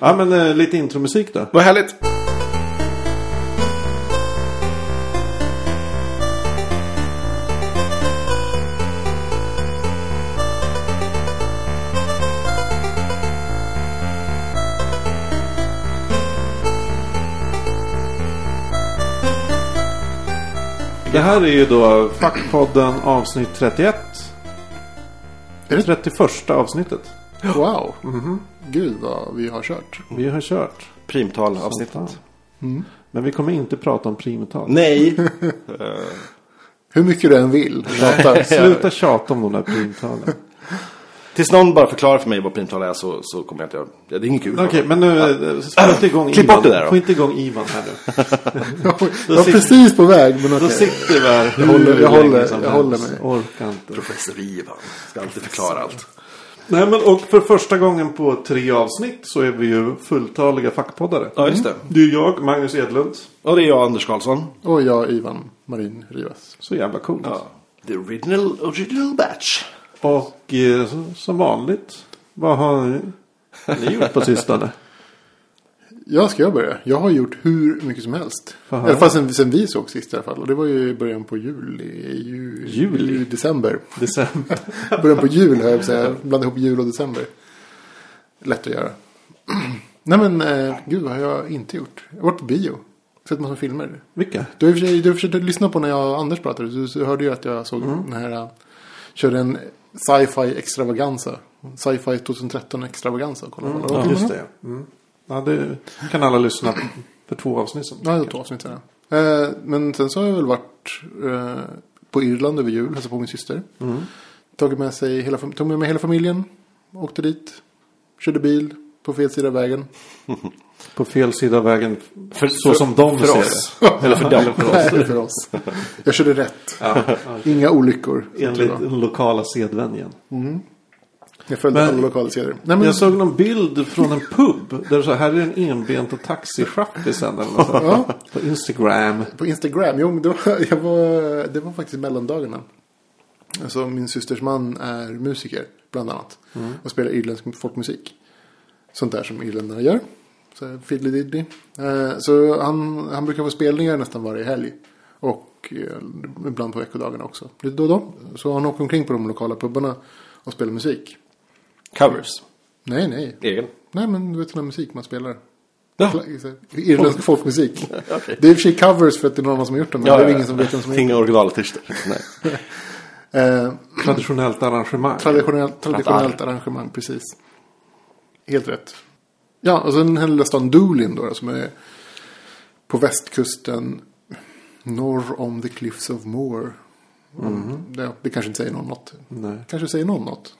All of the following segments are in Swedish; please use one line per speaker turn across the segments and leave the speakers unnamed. Ja men eh, lite intromusik då.
Vad härligt.
Det här är ju då Fackpodden avsnitt 31.
Är det-
31 avsnittet.
Wow. Mhm. Gud vad vi har kört.
Vi har kört.
Primtalavsnittet.
Men vi kommer inte prata om primtal.
Nej,
Hur mycket du än vill. Pratar.
Sluta tjata om de där primtalen.
tills någon bara förklarar för mig vad primtal är så, så kommer jag inte... göra- Ja, det är inget kul.
Okej, men nu... eh, Få inte igång
Klipp
Ivan.
bort det där då.
Få inte igång Ivan här nu.
Jag
Då
var
sitter-
precis på väg men
Då
okej.
sitter vi här hur
Jag håller- jag
länge
håller-
som
jag håller
helst.
mig.
Orkar inte.
Professor Ivan ska alltid förklara allt.
Nej, men och för första gången på tre avsnitt så är vi ju fulltaliga fackpoddare. Mm.
Ja, just det.
Det är jag, Magnus Edlund.
Och det är jag, Anders Karlsson.
Och jag Ivan Marin Rivas.
Så jävla coolt.
The original, original batch.
Och eh, så- som vanligt, vad har ni gjort på sistone?
Jag ska jag börja. Jag har gjort hur mycket som helst.
Fan.
I alla fall sen, sen vi såg sist i alla fall. Och det var ju i början på juli. Ju,
Juli?
ju- December.
December.
Början på jul här jag på att säga. Blanda ihop jul och december. Lätt att göra. Nej men eh, gud vad har jag inte gjort. Jag har varit på bio. Sett massa filmer.
Vilka?
Du har i och för sig- du har försökt lyssna på när jag och Anders pratade. Du, du hörde ju att jag såg
Mm.
den här. eh, Körde en sci-fi extravaganza. Sci-fi 2013 extravaganza. och kollade vad det var.
Ja, just det. Mm. Ja, det kan alla lyssna på för två avsnitt sen.
Ja, det var två avsnitt sedan. Eh, men sen så har jag väl varit eh, på Irland över jul. Hälsat på min syster.
Mm.
Tagit med sig hela, fam- tog med mig hela familjen. Åkte dit. Körde bil. På fel sida av vägen.
På fel sida av vägen.
För,
Så som de
för
ser
oss. Eller för dem.
Nej, för oss. Jag körde rätt. Inga olyckor.
Enligt den lokala sedvänjan.
Jag följde
Men-
alla lokala seder. Nej, men,
Jag såg någon bild från en pub. Där det så här är den enbenta taxichaffisen. eller något sånt.
Ja.
På Instagram.
På Instagram? Jo, men det var, jag var, det var faktiskt mellandagarna. Alltså min systers man är musiker bland annat. Och spelar irländsk folkmusik. Sånt där som irländarna gör. Så här, fiddly-diddly. Eh, Så han, han brukar få spelningar nästan varje helg. Och eh, ibland på veckodagarna också. Lite då och då. Så han åker omkring på de lokala pubarna och spelar musik.
Covers.
Nej, nej.
Egen.
Nej, men du vet den här musik man spelar.
Ja.
Kla- så här, Irländsk folkmusik. Det är i och för sig covers för att det är någon annan som har gjort dem. Men det är ingen som vet vem som har gjort
Inga originalartister. Nej.
Eh,
Traditionellt arrangemang.
traditionellt, traditionellt arrangemang, precis. Helt rätt. Ja, och sen den här lilla stan Doolin då, som är på västkusten norr om the cliffs of Moor. Det, det kanske inte säger någon något.
Nej.
Kanske säger någon något.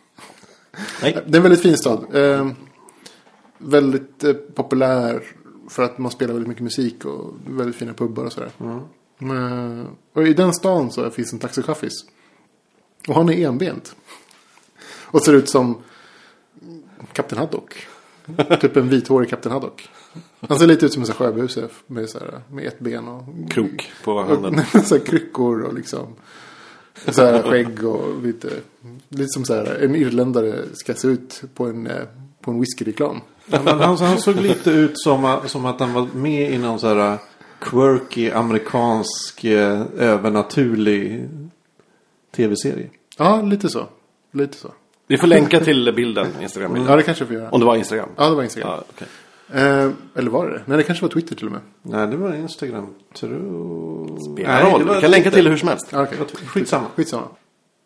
Nej.
Det är en väldigt fin stad. Eh, väldigt eh, populär för att man spelar väldigt mycket musik och väldigt fina pubbar och sådär. Eh, och i den stan så finns en taxichaffis. Och han är enbent. Och ser ut som Kapten Haddock. typ en vithårig Kapten Haddock. Han ser lite ut som en sån här sjöbuse med, så här, med ett ben och
Krok på
och-
handen.
nej, men så här kryckor och liksom. Så här skägg och lite. Lite som så här en irländare ska se ut på en, eh, på en whiskyreklam.
Ja, men han, han såg lite ut som, eh, som att han var med i någon så här eh, quirky amerikansk eh, övernaturlig tv-serie.
Ja, lite så. Lite så.
Vi får länka till bilden, Instagram.
Ja, det kanske vi får
Om
göra.
det var Instagram.
Mm. Ja, det var Instagram.
Mm. Ja, okej.
Eh, eller var det det? Nej, det kanske var Twitter till och med.
Nej, det var Instagram. Tror...
Spelar roll. Vi kan länka till det hur som helst.
Ja,
Det
okej.
var- Skitsamma.
Skitsamma.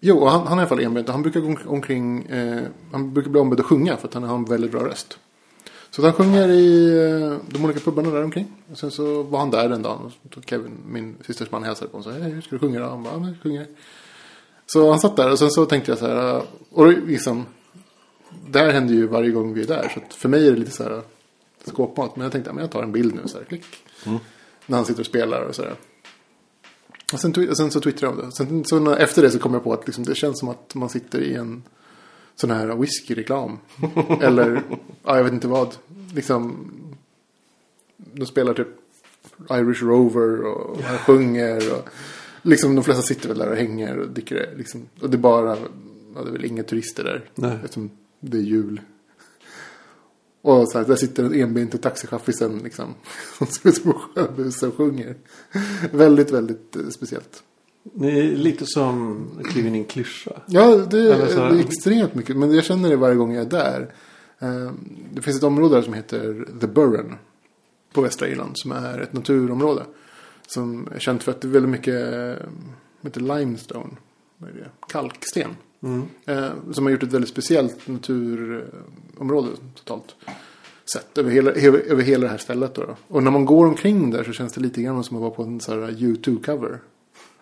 Jo, och han, han är i alla fall enbent. Han brukar gå om- omkring. Eh, han brukar bli ombedd att sjunga för att han har en väldigt bra röst. Så att han sjunger i eh, de olika pubarna där omkring. Och sen så var han där den dagen. Och så tog Kevin, min systers man, hälsade på honom. och sa, Hej, hur ska du sjunga då? Han bara, ja, men jag sjunger. Så han satt där och sen så tänkte jag så här. eh, Och det liksom. Det här händer ju varje gång vi är där. Så att för mig är det lite så här. eh, Skåpmat. Men jag tänkte, ja, men jag tar en bild nu så här. Klick. När han sitter och spelar och så där. Och sen, twi- sen så twittrade jag om det. Sen, så när, efter det så kom jag på att liksom, det känns som att man sitter i en sån här whiskyreklam. Eller, ja, jag vet inte vad. Liksom, de spelar typ Irish Rover och han sjunger. Och, liksom, de flesta sitter väl där och hänger och dricker det. Liksom. Och det är bara, ja, det är väl inga turister där.
Nej.
Eftersom det är jul. Och så här, där sitter den enbente taxichaffisen liksom. Som ser ut som en sjöbus och sjunger. väldigt, väldigt eh, speciellt.
Det är lite som kliver in i en klyscha.
Ja, det,
Eller så-
det är extremt mycket. Men jag känner det varje gång jag är där. Eh, Det finns ett område där som heter The Burren. På Västra Irland. Som är ett naturområde. Som är känt för att det är väldigt mycket eh, heter limestone. Vad är det? Kalksten.
Mm.
Eh, Som har gjort ett väldigt speciellt naturområde totalt. Sett över hela, över, över hela det här stället. Då, då. Och när man går omkring där så känns det lite grann som att vara på en sån här U2-cover.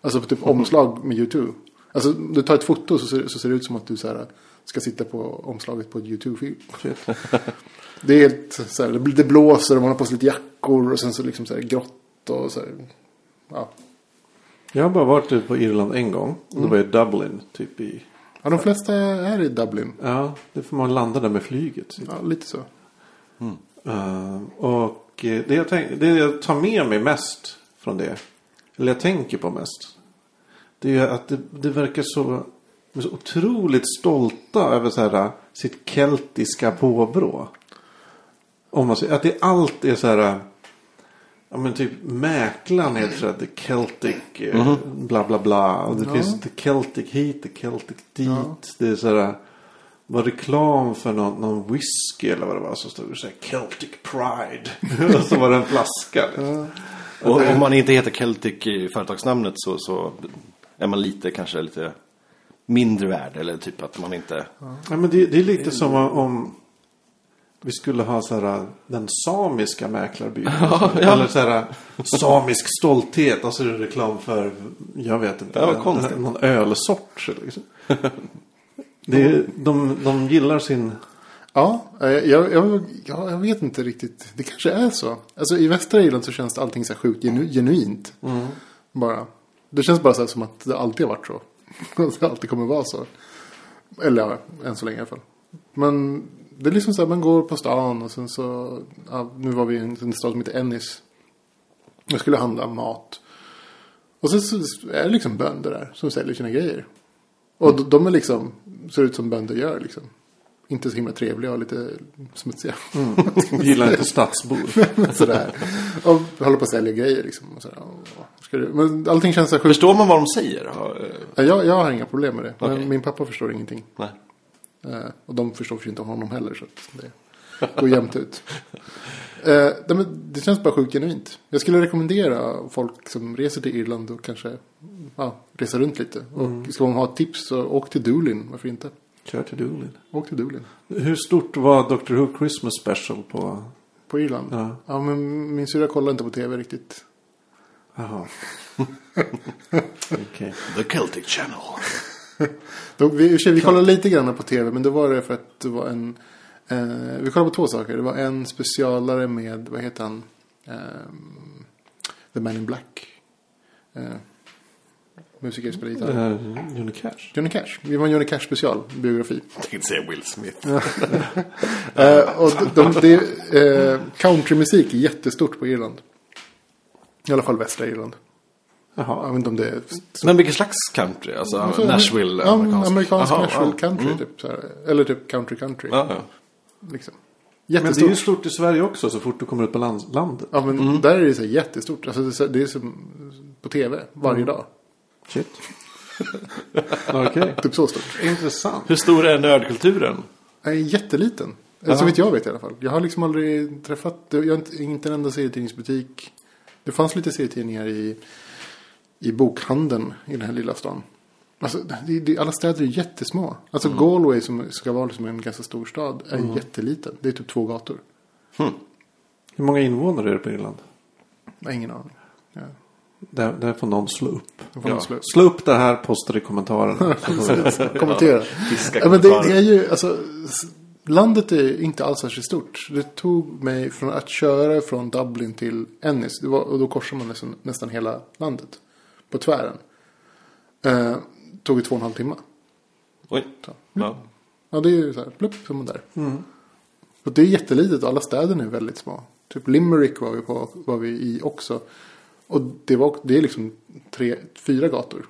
Alltså på typ omslag med U2. Alltså du tar ett foto så ser, så ser det ut som att du så här, ska sitta på omslaget på ett U2-film. Det är helt så här, det bl- det blåser och man har på sig lite jackor och sen så liksom så här grått och så här. Ja,
Jag har bara varit ute på Irland en gång. Och
Mm.
det var i Dublin. Typ i...
ja de flesta är i Dublin.
Ja, det får man landa där med flyget.
Ja, lite så.
Eh, och eh, det jag, tänk, det jag tar med mig mest från det. Eller jag tänker på mest. Det är ju att det, det verkar så, de är så otroligt stolta över så här, eh, sitt keltiska påbrå. Om man säger, att det allt är så här. eh, Ja men typ mäklaren heter så här, The Celtic eh, bla bla bla. Och det finns The Celtic hit, The Celtic dit. Det är så här var reklam för någon, någon whisky eller vad det var. Så stod det så här Celtic Pride. och så var det en flaska. Liksom.
Och om man inte heter Celtic i företagsnamnet så, så är man lite kanske lite mindre värd. Eller typ att man inte...
Ja, men det, det är lite som om- om vi skulle ha så här, den samiska mäklarbyn. Eller så här, samisk stolthet. Och så är det reklam för, jag vet inte,
Ja, vad konstigt.
någon ölsort. Liksom. Det är, de, de gillar sin...
Ja, eh, jag, jag, jag, jag vet inte riktigt. Det kanske är så. Alltså i västra Irland så känns det allting så här sjukt genu, genuint. Bara. Det känns bara så här som att det alltid har varit så. Att det alltid kommer vara så. Eller ja, än så länge i alla fall. Men det är liksom så här, man går på stan och sen så. Ja, nu var vi i en, en stad som heter Ennis. Jag skulle handla mat. Och sen så är det liksom bönder där som säljer sina grejer. Och de, de är liksom, ser ut som bönder gör liksom. Inte så himla trevliga och lite smutsiga.
Gillar inte stadsbor.
sådär. Och håller på att sälja grejer liksom. Och sådär. Och ska du, men allting känns så här sjukt.
Förstår man vad de säger? Ja, eh,
Ja, Jag, jag har inga problem med det. Men
Okej.
min pappa förstår ingenting.
Nej.
Eh, och de förstår förstås inte honom heller. Så att det går jämnt ut. Eh, nej, men det känns bara sjukt genuint. Jag skulle rekommendera folk som reser till Irland och kanske ja, resa runt lite. Och ska man ha tips så åk till Doolin. Varför inte?
Kör till Doolin.
Åk till Doolin.
Hur stort var Doctor Who Christmas Special på...
På Irland?
Ja.
men min syrra kollar inte på tv riktigt.
Jaha. Okej.
The Celtic Channel.
Då, vi, i och för sig, vi kollade lite grann på tv, men då var det för att det var en... Eh, vi kollade på två saker. Det var en specialare med, vad heter han? Ehm, The Man in Black. Eh, musiker spelar gitarr.
Eh, Johnny Cash.
Johnny Cash. Vi var en Johnny Cash special, biografi.
Jag tänkte säga Will Smith.
Eh, och de, de, det är, eh, countrymusik är jättestort på Irland. I alla fall västra Irland.
Jaha.
Jag vet inte om det är
Men vilken slags country? Alltså
Alltså,
Nashville?
Ja, amerikansk, amerikansk
Aha,
Nashville
ja.
country. Typ, så här. Eller typ country country.
Ja, ja.
Liksom.
Men
Jättestort.
det är ju stort i Sverige också så fort du kommer ut på land- landet.
Ja, men där är det så här jättestort. Alltså, det, är så- det är som på tv varje dag.
Shit. Okej.
Typ så stort.
Intressant.
Hur stor är nördkulturen?
Nej, jätteliten. Eller Så vitt jag vet i alla fall. Jag har liksom aldrig träffat. Jag har inte, inte en enda serietidningsbutik. Det fanns lite serietidningar i, i bokhandeln i den här lilla stan. Alltså, det, det, alla städer är jättesmå. Alltså Galway som ska vara liksom en ganska stor stad är jätteliten. Det är typ två gator.
Hur många invånare är det på Irland?
Jag har ingen aning. Ja.
Där, där får någon slå upp.
Då får man
Ja.
slå-
Slå upp det här, posta det i kommentarerna. Så får vi-
kommentera.
fiska
Ja, men det,
kommentarer.
det är ju, alltså, s- landet är inte alls särskilt stort. Det tog mig från att köra från Dublin till Ennis. Det var, och då korsar man nästan, nästan hela landet. På tvären. Eh, tog ju två och en halv timme.
Oj. Ja.
Ja, det är ju så här, plupp, så är man där.
Mm.
Och det är jättelitet och alla städerna är väldigt små. Typ Limerick var vi, på, var vi i också. Och det, var, det är liksom tre, fyra gator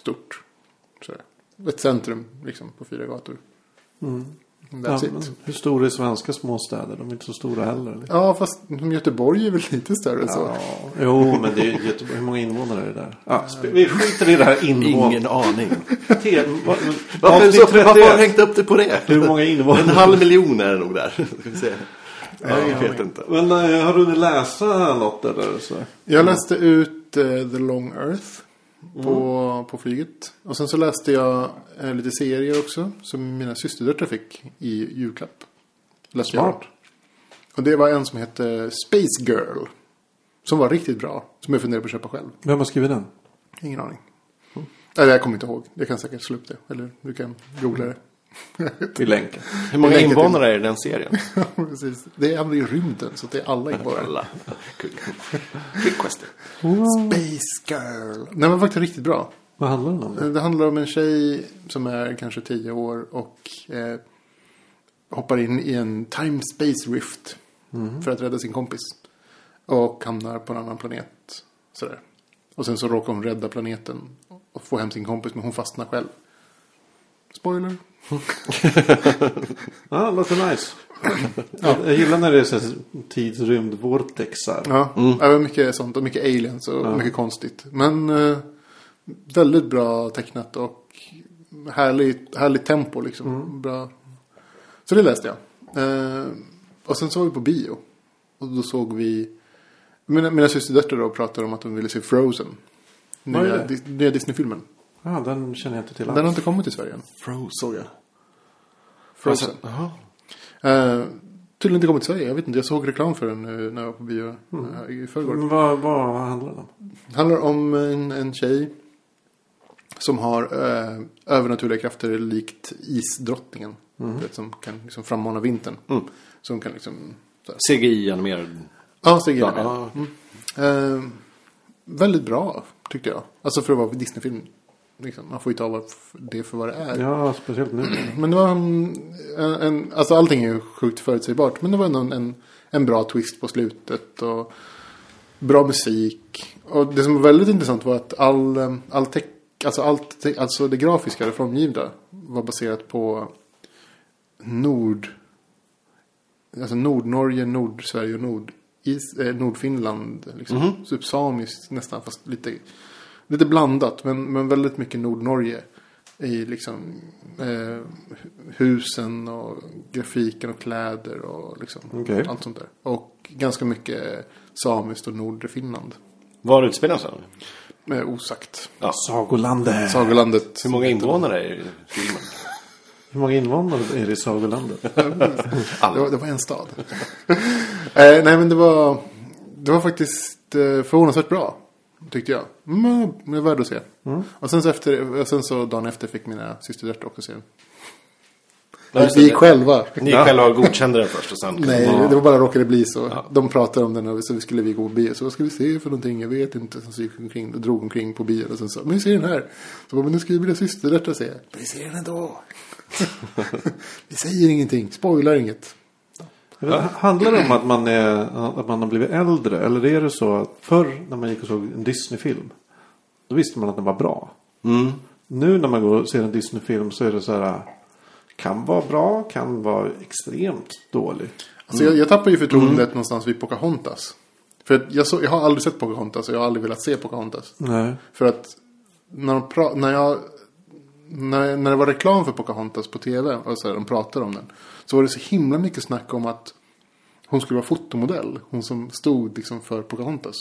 stort. Så där. Ett centrum liksom på fyra gator. That's
Mm. Ja,
it.
men hur stora är svenska småstäder? De är inte så stora heller. Eller?
Ja, fast som Göteborg är väl lite större än så.
Jo, men det är ju Göteborg. Hur många invånare är det där? Ja, sp- vi skiter i det här invånare.
Mm. Ingen aning. Varför,
Avsnitt
så, varför har du
31.
hängt upp det på det?
Hur många
En
invånare?
halv miljon är det nog där. Ska vi se. Ja, jag vet inte.
Men eh, har du hunnit läsa något eller så?
Jag läste ut eh, The Long Earth på, på flyget. Och sen så läste jag eh, lite serier också som mina systerdöttrar fick i julklapp. Läste jag.
Smart.
Och det var en som hette Space Girl. Som var riktigt bra. Som jag funderar på att köpa själv.
Vem har skrivit den?
Ingen aning. Eller jag kommer inte ihåg. Jag kan säkert slå upp det. Eller du kan googla det.
Vi länkar.
Hur många
Länkar till-
invånare är det i den serien?
Precis. Det är i rymden så det är alla invånare.
Alla. Kul. Quick question.
Space Girl. Nej, men det var faktiskt riktigt bra.
Vad handlar den om?
Det handlar om en tjej som är kanske tio år och eh, hoppar in i en time space rift för att rädda sin kompis. Och hamnar på en annan planet. Sådär. Och sen så råkar hon rädda planeten och få hem sin kompis men hon fastnar själv. Spoiler.
Ja, ah, låter nice. Jag gillar när det är så här tidsrymdvortexar.
Ja, det var mycket sånt och mycket aliens och mycket konstigt. Men eh, väldigt bra tecknat och härligt, härligt tempo liksom. Bra. Så det läste jag. Eh, och sen så var vi på bio. Och då såg vi, mina, mina systerdöttrar då pratade om att de ville se Frozen.
Vad är
Nya,
det?
Dis, nya Disney-filmen.
Ja, den känner jag inte till
Den har
alls.
inte kommit till Sverige än.
Frozen.
Frozen.
Alltså, Jaha.
Eh, tydligen inte kommit till Sverige. Jag vet inte, jag såg reklam för den nu när jag var på bio eh, i förrgår.
Men vad, vad, vad handlar den om?
Det handlar om en, en tjej som har eh, övernaturliga krafter likt isdrottningen.
Mhm.
Du Vet, som kan liksom frammana vintern.
Mm.
Som kan liksom... så här-
CGI-animerad.
Ja, stiger
Ja,
in i det.
ja.
Eh, väldigt bra, tyckte jag. Alltså för att vara Disney-film. Liksom, man får ju ta vad f- det för vad det är.
Ja, speciellt nu.
Men det var en, en, en... Alltså allting är ju sjukt förutsägbart. Men det var ändå en, en, en bra twist på slutet. Och bra musik. Och det som var väldigt intressant var att all, eh, all tech, alltså allt, te- alltså det grafiska, det formgivna var baserat på Nord, alltså Nordnorge, Nordsverige och Nord, is, eh, Nordfinland. Liksom. Typ samiskt nästan, fast lite, lite blandat. Men, men väldigt mycket Nordnorge. I liksom eh, husen och grafiken och kläder och liksom
Okej.
allt sånt där. Och ganska mycket samiskt och nordre Finland.
Var utspelar den sig?
Eh, osagt.
Ja.
Sagolandet.
Sagolandet.
Hur många invånare är det i filmen?
Hur många invånare är det i Sagolandet?
Det var, det var en stad. eh, nej men det var, det var faktiskt eh, förvånansvärt bra. Tyckte jag. Men det är värd att se. Och sen så, efter, och sen så dagen efter fick mina systerdöttrar också se den. Vi gick själva.
Ni själva godkände den först och sen...
Nej, det var bara råkade bli så. De pratade om den och så skulle vi gå på bio. Så vad ska vi se för någonting? Jag vet inte. Sen så gick vi omkring och drog omkring på bio. Och sen sa men vi ser den här. Så bara, men nu ska ju mina systerdöttrar se. Men vi ser den ändå. vi säger ingenting. Spoilar inget.
Jag vet, Handlar det om att man, är, att man har blivit äldre? Eller är det så att förr när man gick och såg en Disney-film. Då visste man att den var bra. Nu när man går och ser en Disney-film så är det så här. Kan vara bra, kan vara extremt dålig.
Alltså jag, jag tappar ju förtroendet någonstans vid Pocahontas. För att jag, så, jag har aldrig sett Pocahontas och jag har aldrig velat se Pocahontas.
Nej.
För att när, de pra- när jag... När, när det var reklam för Pocahontas på tv och så här, de pratade om den. Så var det så himla mycket snack om att hon skulle vara fotomodell. Hon som stod liksom för Pocahontas.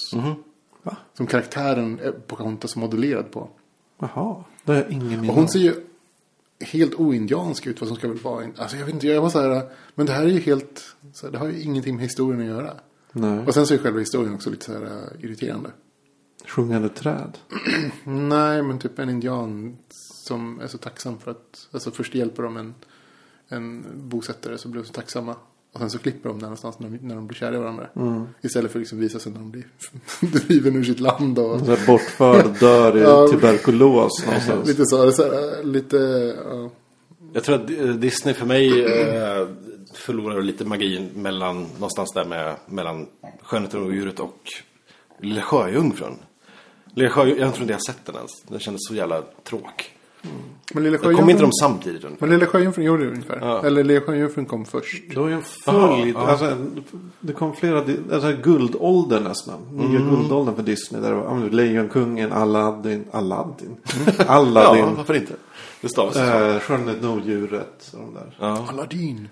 Va?
Som karaktären eh, Pocahontas modellerad på.
Jaha, det är ingen minne
Och hon
av.
ser ju helt oindiansk ut vad som ska väl vara. en- Alltså jag vet inte, jag var så här. Men det här är ju helt... Så här, det har ju ingenting med historien att göra.
Nej.
Och sen så är själva historien också lite så här eh, irriterande.
Sjungande träd.
Nej, men typ en indian som är så tacksam för att... Alltså först hjälper de en, en bosättare så blir de så tacksamma. Och sen så klipper de där någonstans när de, när de blir kära i varandra. Istället för att liksom visa sig när de blir driven ur sitt land. Och,
Så här bortförd, dör
Ja.
i tuberkulos någonstans.
Lite så, så här, lite... ja.
Jag tror att eh, Disney för mig eh, förlorar lite magin mellan, någonstans där med, mellan Skönheten och odjuret och Lilla Sjöjungfrun. Lilla Sjöjungfrun, jag tror inte jag har sett den ens. Den kändes så jävla tråkig.
Men Lilla
Då kom inte
Sjöjungfrun
de samtidigt ungefär.
men Lilla Sjöjungfrun gjorde det ungefär.
Ja.
Eller Lilla Sjöjungfrun kom först.
Det var ju en följd.
Jaha, ja.
alltså, en- det kom flera. Alltså guldåldern nästan. Nya
Mm.
guldåldern för Disney. Där det var ja, men Lejonkungen, Aladdin. Aladdin.
Ja,
Aladdin.
varför inte? Det stavas ju så.
eh, Skönhetsnodjuret. och de där.
Ja.
Aladdin.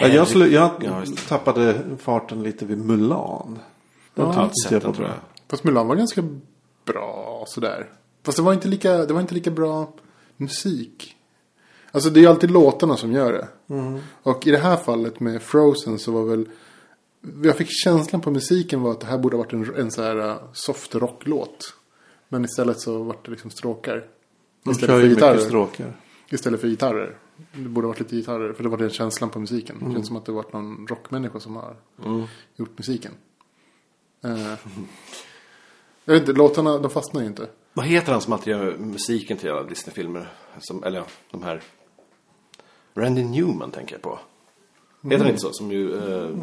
Ja, jag skulle, jag
Ja, just det.
tappade farten lite vid Mulan. Den
Ja.
tyckte
Sett den,
på.
tror jag.
Fast Mulan var ganska bra sådär. Fast det var inte lika, det var inte lika bra musik. Alltså det är ju alltid låtarna som gör det.
Mm.
Och i det här fallet med Frozen så var väl... Jag fick känslan på musiken var att det här borde ha varit en, en så här eh, soft rocklåt. Men istället så var det liksom stråkar.
De
Istället
kör
för
ju mycket
gitarrer.
stråkar.
Istället för gitarrer. Det borde ha varit lite gitarrer. För det var den känslan på musiken. Det känns som att det varit någon rockmänniska som har gjort musiken. Eh, jag vet inte, låtarna de fastnar ju inte.
Vad heter han som alltid gör musiken till alla Disney-filmer? Som, eller ja, de här... Randy Newman tänker jag på. Heter han inte så? Som ju eh,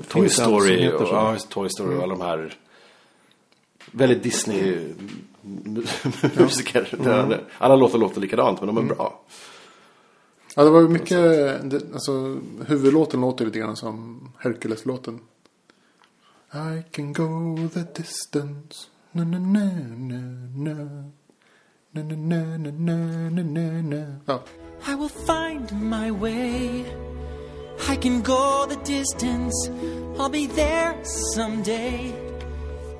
Toy
allt som
Story
heter
och,
så.
ja, just Toy Story och alla de här... Väldigt Disney-musiker. Alla låtar låter likadant men de är bra.
Ja, det var ju mycket, det, alltså huvudlåten låter lite grann som Hercules-låten. I can go the distance. Na, na, na, na, na. Na, na, na, na, na, na, na, na. Ja,
I will find my way. I can go the distance. I'll be there someday.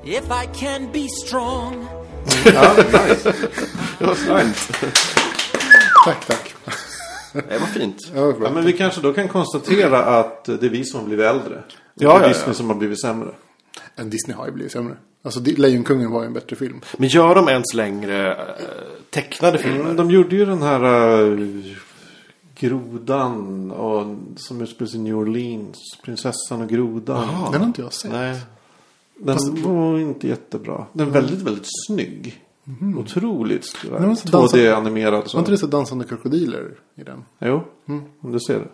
If I can be strong.
Det var fint.
tack, tack.
Det var fint.
Ja, det var bra.
Ja, men vi kanske då kan konstatera att det är vi som har blivit äldre. det
Ja,
är
ja,
Disney
ja.
som har blivit sämre.
En Disney har ju blivit sämre. Alltså Di- Lejonkungen var ju en bättre film.
Men gör de ens längre eh, tecknade filmer?
Mm, de gjorde ju den här eh, grodan och, som utspelar sig i New Orleans. Prinsessan och grodan.
Den har inte jag sett.
Nej.
Den var inte jättebra. Den är
Mm.
väldigt, väldigt snygg.
Mhm.
Otroligt tyvärr.
Men de måste dansa-
2D-animerad.
Var inte Mm.
Så.
det så dansande krokodiler i den?
Jo, om du ser det.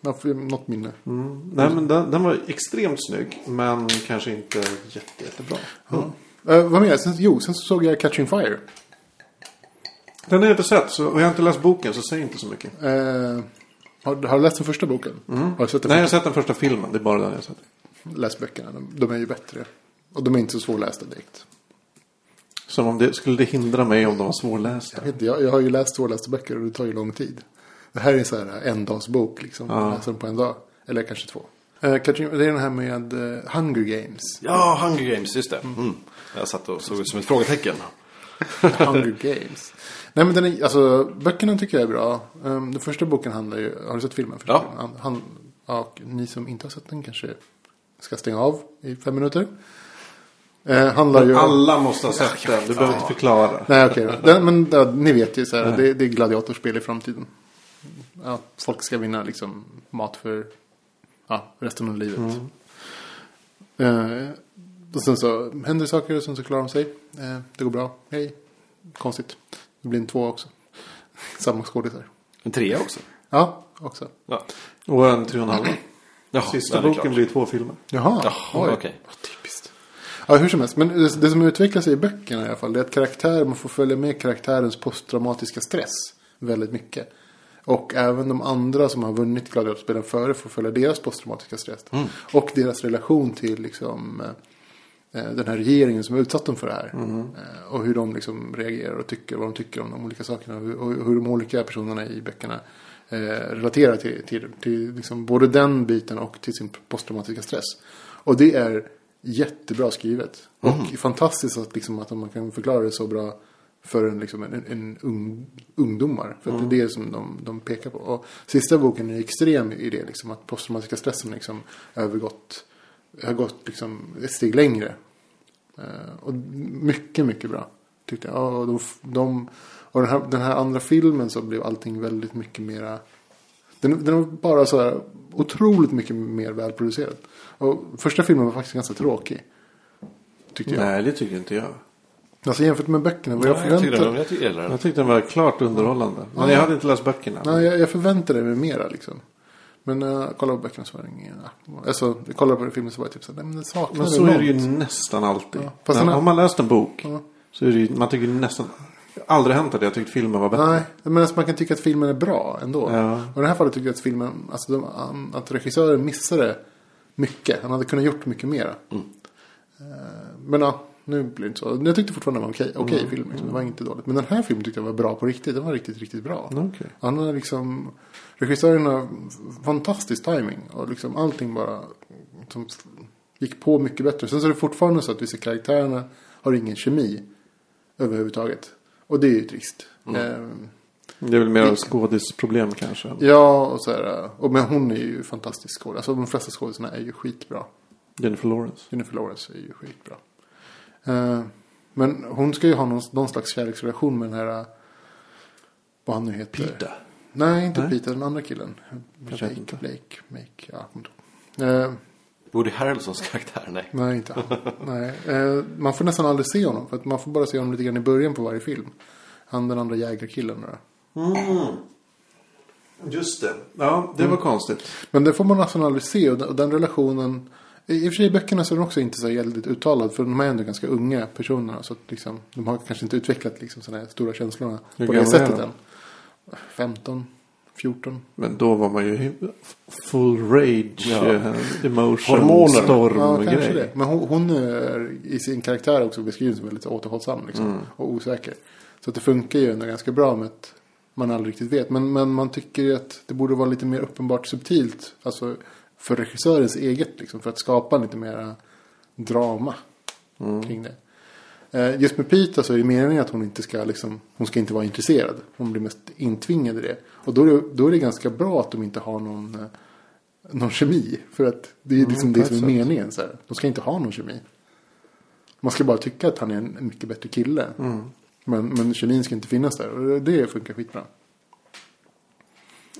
Jag får något minne.
Nej, men den, den var extremt snygg. Men kanske inte jätte, jättebra. Mm.
Eh, vad mer? Sen, jo, sen så såg jag Catching Fire.
Den har jag inte sett. Så, och jag har inte läst boken så säg inte så mycket.
Eh, har, har du läst den första boken? Har du sett den
Mm. Nej, jag har
första?
sett den första filmen. Det är bara den jag har sett.
Läs böckerna, de, de är ju bättre. Och de är inte så svårlästa direkt.
Som om det skulle det hindra mig om de var svårlästa.
Jag, vet inte, jag, jag har ju läst svårlästa böcker och det tar ju lång tid. Det här är så här en dags bok liksom. Jag läser den på en dag. Eller kanske två. Eh, Catching, det är den här med eh, Hunger Games.
Ja, Hunger Games, just det. Mm. Jag satt och såg ut som ett frågetecken.
Hunger Games. Nej men den är, alltså böckerna tycker jag är bra. Um, den första boken handlar ju, har du sett filmen? Första
Ja.
filmen? Han, han, ja, och ni som inte har sett den kanske ska stänga av i fem minuter. Eh, handlar ju om...
Alla måste ha sett den. Du behöver inte förklara.
Nej okej, då. Den- men ja, ni vet ju så här, det, det är gladiatorspel i framtiden. Ja, folk ska vinna liksom mat för ja, resten av livet. Eh, och sen så händer det saker och sen så klarar de sig. Eh, det går bra. Hej. Konstigt. Det blir en två också. Samma skådisar.
En trea också.
Ja, också.
Ja.
Och en tre och en halv.
Ja,
Sista
ja, det är
boken
klart.
blir två filmer.
Jaha,
Jaha, okej.
Vad Typiskt. Ja, hur som helst. Men det, det som utvecklar sig i böckerna i alla fall. Det är att karaktär, man får följa med karaktärens posttraumatiska stress. Väldigt mycket. Och även de andra som har vunnit gladiatorspelen före får följa deras posttraumatiska stress. Och deras relation till liksom, eh, den här regeringen som har utsatt dem för det här. Eh, Och hur de liksom reagerar och tycker, vad de tycker om de olika sakerna. Och hur- och hur de olika personerna i böckerna eh, relaterar till, till, till liksom både den biten och till sin posttraumatiska stress. Och det är jättebra skrivet. Och fantastiskt att, liksom, att man kan förklara det så bra för en, liksom, en, en ung, ungdomar. För att det är det som de, de pekar på. Och sista boken är extrem i det. Liksom, att posttraumatiska stressen liksom, övergått, har gått liksom, ett steg längre. Eh, och mycket, mycket bra. Tyckte jag. Ja, Och, de, de, och den, här, den här andra filmen så blev allting väldigt mycket mera... Den, den var bara så här otroligt mycket mer välproducerad. Och första filmen var faktiskt ganska tråkig. Tyckte jag.
Nej, det tycker inte jag.
Alltså jämfört med böckerna. Vad jag
Jag tycker
förväntade
den, jag tycker jag gillar den.
Jag tyckte den var klart underhållande. Men jag hade inte läst böckerna.
Nej, jag, jag förväntade mig mera liksom. Men när jag kollade på böckerna så var det ingen... Alltså, jag kollade på den filmen så var jag typ så här, nej men den saknade
Men så är det ju
något.
nästan alltid.
fast
När,
den här-
Om man läst en bok
Ja.
så är det ju, man tycker ju nästan aldrig hänt att jag tyckt filmen var bättre.
Nej, men alltså man kan tycka att filmen är bra ändå.
Ja.
Och i det här fallet tycker jag att filmen, alltså de, att regissören missade mycket. Han hade kunnat gjort mycket mera.
Mm.
Eh, Men ja, nu blir det inte så. Jag tyckte fortfarande det var okej, okej
Mm.
film. Liksom. Det var inte dåligt. Men den här filmen tyckte jag var bra på riktigt. Den var riktigt, riktigt bra.
Okej.
Han har liksom, regissören har fantastisk timing Och liksom allting bara som gick på mycket bättre. Sen så är det fortfarande så att vissa karaktärerna har ingen kemi överhuvudtaget. Och det är ju trist.
Mm.
Ehm,
Det är väl mer skådisproblem kanske.
ja, och så här. Och, men hon är ju fantastisk skådespelare. Alltså de flesta skådespelarna är ju skitbra.
Jennifer Lawrence.
Jennifer Lawrence är ju skitbra. Eh, men hon ska ju ha någon, någon slags kärleksrelation med den här... eh, Vad han nu heter.
Peter.
Nej, inte
Nej.
Peter. Den andra killen.
Jag vet inte.
Blake, Blake, Blake. Ja, jag kommer inte ihåg. Eh,
Woody Harrelsons karaktär, nej.
Nej, inte han. Nej. Eh, man får nästan aldrig se honom. För att man får bara se honom lite grann i början på varje film. Han den andra jägarkillen. Där.
Just det. Ja, det var konstigt.
Men det får man nästan aldrig se. Och den, och den relationen. I i och för sig i böckerna så är den också inte så väldigt uttalad. För de är ändå ganska unga personerna. Så att liksom, de har kanske inte utvecklat liksom, sådana här stora känslorna.
Hur
på det
gamla är
sättet
de?
än. 15, 14.
Men då var man ju hy- full rage,
Ja.
eh, emotion,
Hormoner.
storm
Ja, kanske
grej.
det. Men hon, hon är i sin karaktär också beskriven som väldigt återhållsam liksom, och osäker. Så att det funkar ju ändå ganska bra med att man aldrig riktigt vet. Men, men man tycker ju att det borde vara lite mer uppenbart subtilt. Alltså för regissörens eget liksom. För att skapa lite mer drama kring det. Eh, Just med Pita så är det meningen att hon inte ska, liksom, hon ska inte vara intresserad. Hon blir mest intvingad i det. Och då är det, då är det ganska bra att de inte har någon, eh, någon kemi. För att det är liksom det
på ett
som är
sätt.
meningen. Så här. De ska inte ha någon kemi. Man ska bara tycka att han är en mycket bättre kille. Men, men kemin ska inte finnas där. Och det- det funkar skitbra.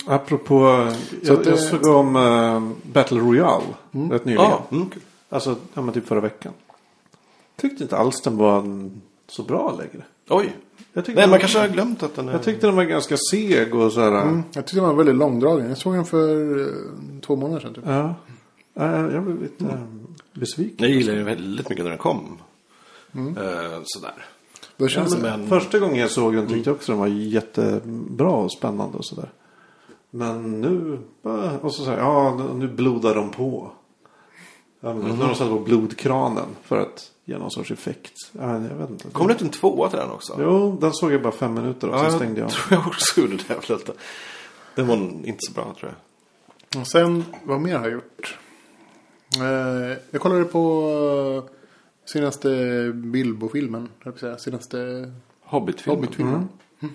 Apropå,
Så
jag,
att,
jag
eh,
såg om eh, Battle Royale rätt nyligen.
Ja, mm.
Alltså, ja men typ förra veckan. Tyckte inte alls den var en, så bra längre.
Oj.
Jag tyckte,
Nej,
den,
man kanske har glömt att den är...
jag tyckte den var ganska seg och så här.
Mm. Jag tyckte den var väldigt långdragen. Jag såg den för eh, två månader sedan. Typ.
Ja. Ja, jag blev
Mm.
lite eh, besviken.
Jag gillade den väldigt mycket när den kom. Eh, sådär.
Då kändes
Men,
det.
men-
Första gången jag såg den tyckte jag också den var jättebra och spännande och sådär. Men nu, eh, och så säger ja nu blodar de på. Ja, men Nu har de satt på blodkranen för att ge någon sorts effekt. Ja, jag vet inte.
Kom det inte en tvåa till den också?
Jo, den såg jag bara fem minuter och sen stängde jag av.
tror jag också gjorde det. för att Den var inte så bra tror jag.
Och sen, vad mer har jag gjort? Eh, jag kollade på eh, senaste Bilbo-filmen. höll jag på att säga. Senaste
Hobbit-filmen.
Hobbit-filmen.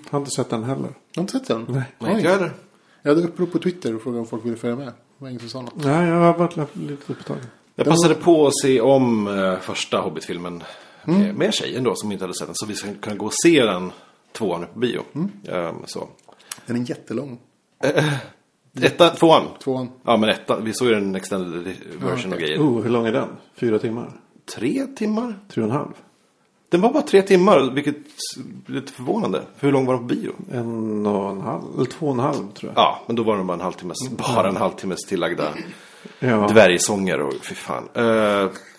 Har inte sett den heller.
Har du inte sett den?
Nej.
Mm. Nej, inte jag heller.
Jag hade upprop på Twitter och frågade om folk ville följa med. Det var ingen som sa något.
Nej, jag har varit lite upptagen.
Jag passade på att se om eh, första Hobbit-filmen med, med tjejen då som inte hade sett den. Så vi ska kunna gå och se den tvåan på bio. Eh, så.
Den är jättelång.
Ettan, tvåan.
Tvåan.
Ja men ettan, vi såg ju den extended version och grejer.
Oh, hur lång är den? Fyra timmar?
Tre timmar?
Tre och en halv?
Den var bara tre timmar, vilket är lite förvånande. För hur lång var den på bio?
En och en halv? Eller två och en halv tror jag.
Ja, men då var den bara en halvtimmes, bara en halvtimmes tillagda
Mm. Ja.
dvärgsånger och fy fan. Eh, det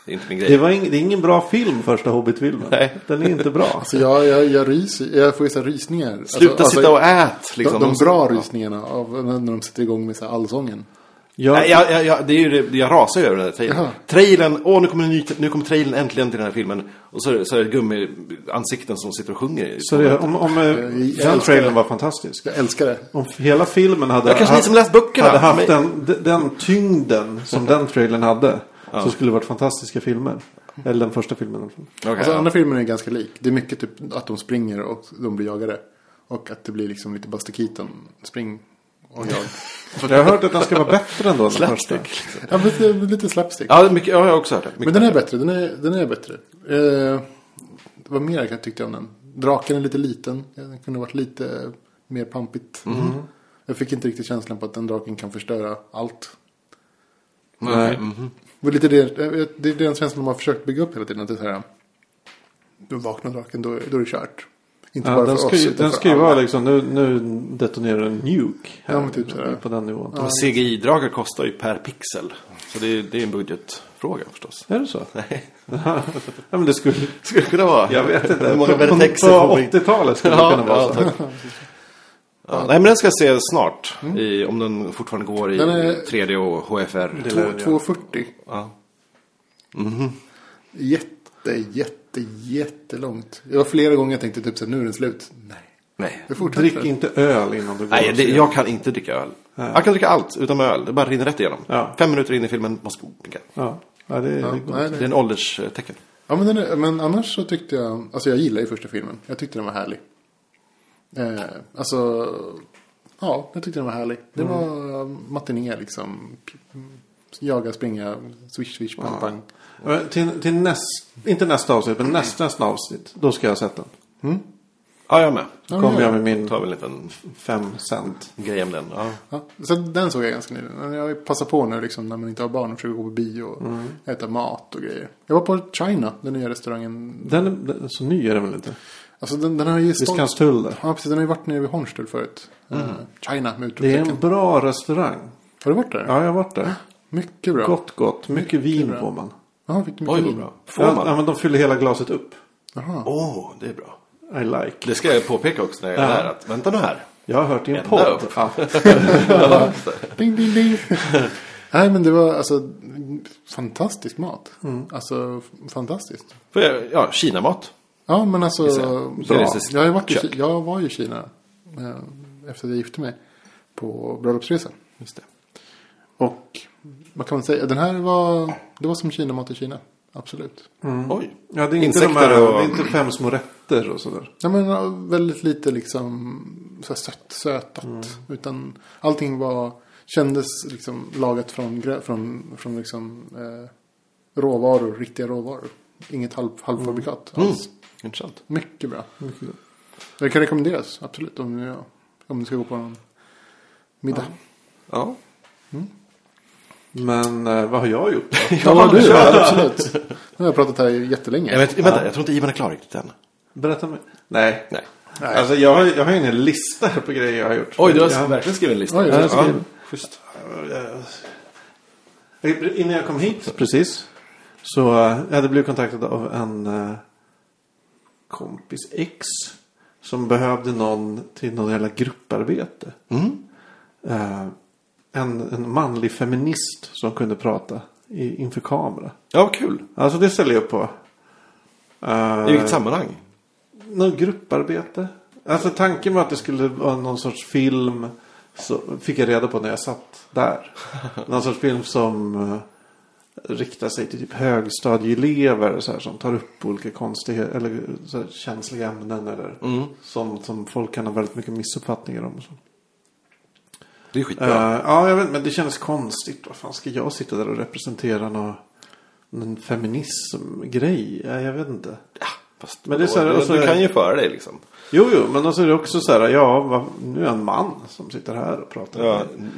är inte min grej.
Det, var ing, det är ingen bra film, första Hobbit-filmen.
Nej.
Den är inte bra.
Så jag, jag, jag, ryser, jag får ju så här rysningar. Alltså,
Sluta
alltså,
sitta och ät liksom.
de, de bra rysningarna av när de sätter igång med så här allsången.
Jag,
Nej, jag, jag, jag, det är ju det, jag rasar ju över den här trailern.
Jaha.
Trailern, åh nu kommer, en ny, nu kommer trailern äntligen till den här filmen. Och så, är det- så är det gummiansikten som sitter och sjunger. i-
så det, om, om eh, den
älskar
trailern
det.
var fantastisk.
Jag älskar det.
Om hela filmen hade
Ja, kanske ni som läst böckerna.
hade haft
Men-
den, d- den tyngden som den trailern hade. Så skulle det varit fantastiska filmer. Eller den första filmen. i alla fall.
Okej,
Alltså
ja.
andra filmen är ganska lik. Det är mycket typ att de springer och de blir jagade. Och att det blir liksom lite Buster Keaton. Spring och jag.
Jag har hört att den ska vara bättre ändå än den första.
Slapstick.
ja, men lite, lite slapstick.
Ja, det är mycket, ja, jag har också hört det. Mycket.
men den är bättre. Den är, den är bättre. Eh, vad mer jag tyckte om den? Draken är lite liten. Den kunde varit lite mer pampigt.
Mhm.
Mm.
Jag fick inte riktigt känslan på att den draken kan förstöra allt.
Nej.
Det är, lite det, eh, det är den känslan de har försökt bygga upp hela tiden. Att det är så här, då vaknar draken, då, då är det kört. Inte
Ja,
bara
den
för
ska,
oss.
ju,
utan
den
för
ska ju vara
alla.
liksom, nu, nu detonerar en nuke här.
Ja, men typ sådär.
på den nivån.
Och CGI-dragare kostar ju per pixel. Så det är, det är en budgetfråga förstås.
Är det så? Nej. ja, men det skulle...
Skulle det kunna vara.
Jag vet inte.
Hur många
På- på-
vertexer
På
får vi?
80-talet skulle det kunna vara så.
tack. Ja, nej men den ska jag se snart. I, om den fortfarande går i
Den är-
3D och HFR.
Det-
Två-
lär den göra.
240.
Ja.
Jätte, jätte, jättelångt. Jag var flera gånger jag tänkte typ så här, nu är den slut. Nej.
Nej.
Det fortsätter.
Drick inte öl innan du går
Nej,
och
det,
ser.
jag kan inte dricka öl. Jag kan dricka allt utom öl. Det bara rinner rätt igenom.
Ja.
Fem minuter in i filmen måste jag pinka.
Ja, ja det är
Ja,
det går inte.
nej,
Det
nej.
är en ålderstecken.
Ja, men, den är, men annars så tyckte jag, alltså jag gillade ju första filmen. Jag tyckte den var härlig. Eh, alltså, ja, jag tyckte den var härlig. Det var matiné liksom. P- Jaga, springa, swish, swish, pang, pang.
Men Till, till näst, inte nästa avsnitt, men näst, nästa avsnitt. Då ska jag ha sett den.
Ja, jag med.
Då kommer
men-
jag med
Då
min
tar vi en liten
fem cent.
grej om den. Ja.
Ja, så den såg jag ganska nyligen. Men Jag passar på nu liksom, när man inte har barn och försöker gå på bio och äta mat och grejer. Jag var på China, den nya restaurangen.
Den, den, så ny är den väl inte?
Alltså den, den har ju stått...
Viskanstull där.
Ja, precis. Den har ju varit nere vid Hornstull förut.
Mm.
Eh, China med
Det är en
utropstecken.
bra restaurang.
Har du varit där?
Ja, jag har varit där.
Mycket bra.
Gott, gott. Mycket vin
bra.
får man.
Jaha, fick du mycket
Oj, vad
vin?
bra. Får
Ja, ja,
man?
men de fyller hela glaset upp.
Jaha.
Åh, det är bra.
I like.
Det ska jag påpeka också när jag är där. Att, vänta nu här.
Jag har hört i en
Ända
podd
upp.
att
Ding, ding, ding. Nej, men det var alltså fantastisk mat.
Mm.
Alltså f- fantastiskt.
Får jag, ja, Kinamat.
Ja, men alltså.
Gissar.
Bra.
Kinesiskt
Jag, har ju varit i,
kök.
Ki- jag var ju i Kina eh, efter att jag gifte mig på bröllopsresa.
Just det.
Och vad kan man säga? Den här var, det var som Kina-mat i Kina. Absolut.
Mm.
Oj.
ja, det är inte, de
Insekter
här,
och-
det är inte fem små rätter och sådär.
Ja, men eh, väldigt lite liksom så här sött, sötat. Utan allting var, kändes liksom lagat från, grö- från, från liksom, eh, råvaror, riktiga råvaror. Inget halv, halvfabrikat
Mm.
alls.
Intressant.
Mycket bra. Det kan rekommenderas, absolut. Om, ni- ja, om ni ska gå på någon middag.
Ja.
Men eh, vad har jag gjort då?
Ja, vad du? Ja, absolut. Nu har jag pratat här jättelänge.
Jag vet, vänta, jag tror inte Ivan är klar riktigt än.
Berätta mer. Nej.
Nej.
Nej.
Alltså jag har, jag har ju en hel lista här på grejer jag har gjort.
Oj, du har
jag,
verkligen skrivit en lista.
Oj,
jag,
ja.
jag, jag, Eh, innan jag kom hit precis. Så eh, jag hade blivit kontaktad av en eh, kompis ex. Som behövde någon till någon jävla grupparbete. Eh, en, en manlig feminist som kunde prata i, inför kamera.
Ja, vad kul.
Alltså det ställer jag upp på. Eh,
I vilket sammanhang?
något grupparbete. Alltså tanken var att det skulle vara någon sorts film. Så fick jag reda på när jag satt där. Någon sorts film som eh, riktar sig till typ högstadieelever. Så här, som tar upp olika konstiga eller så här, känsliga ämnen. Eller som, som folk kan ha väldigt mycket missuppfattningar om. Och så.
Det är skitbra.
Ja. ja, jag vet men det kändes konstigt. Vad fan ska jag sitta där och representera någon, någon feminismgrej? Ja, jag vet inte.
Ja, fast
men det är så här, alltså-
du,
och så-
du kan ju föra dig liksom.
Jo, jo, men alltså är det också så här, ja, vad, nu är jag en man som sitter här och pratar.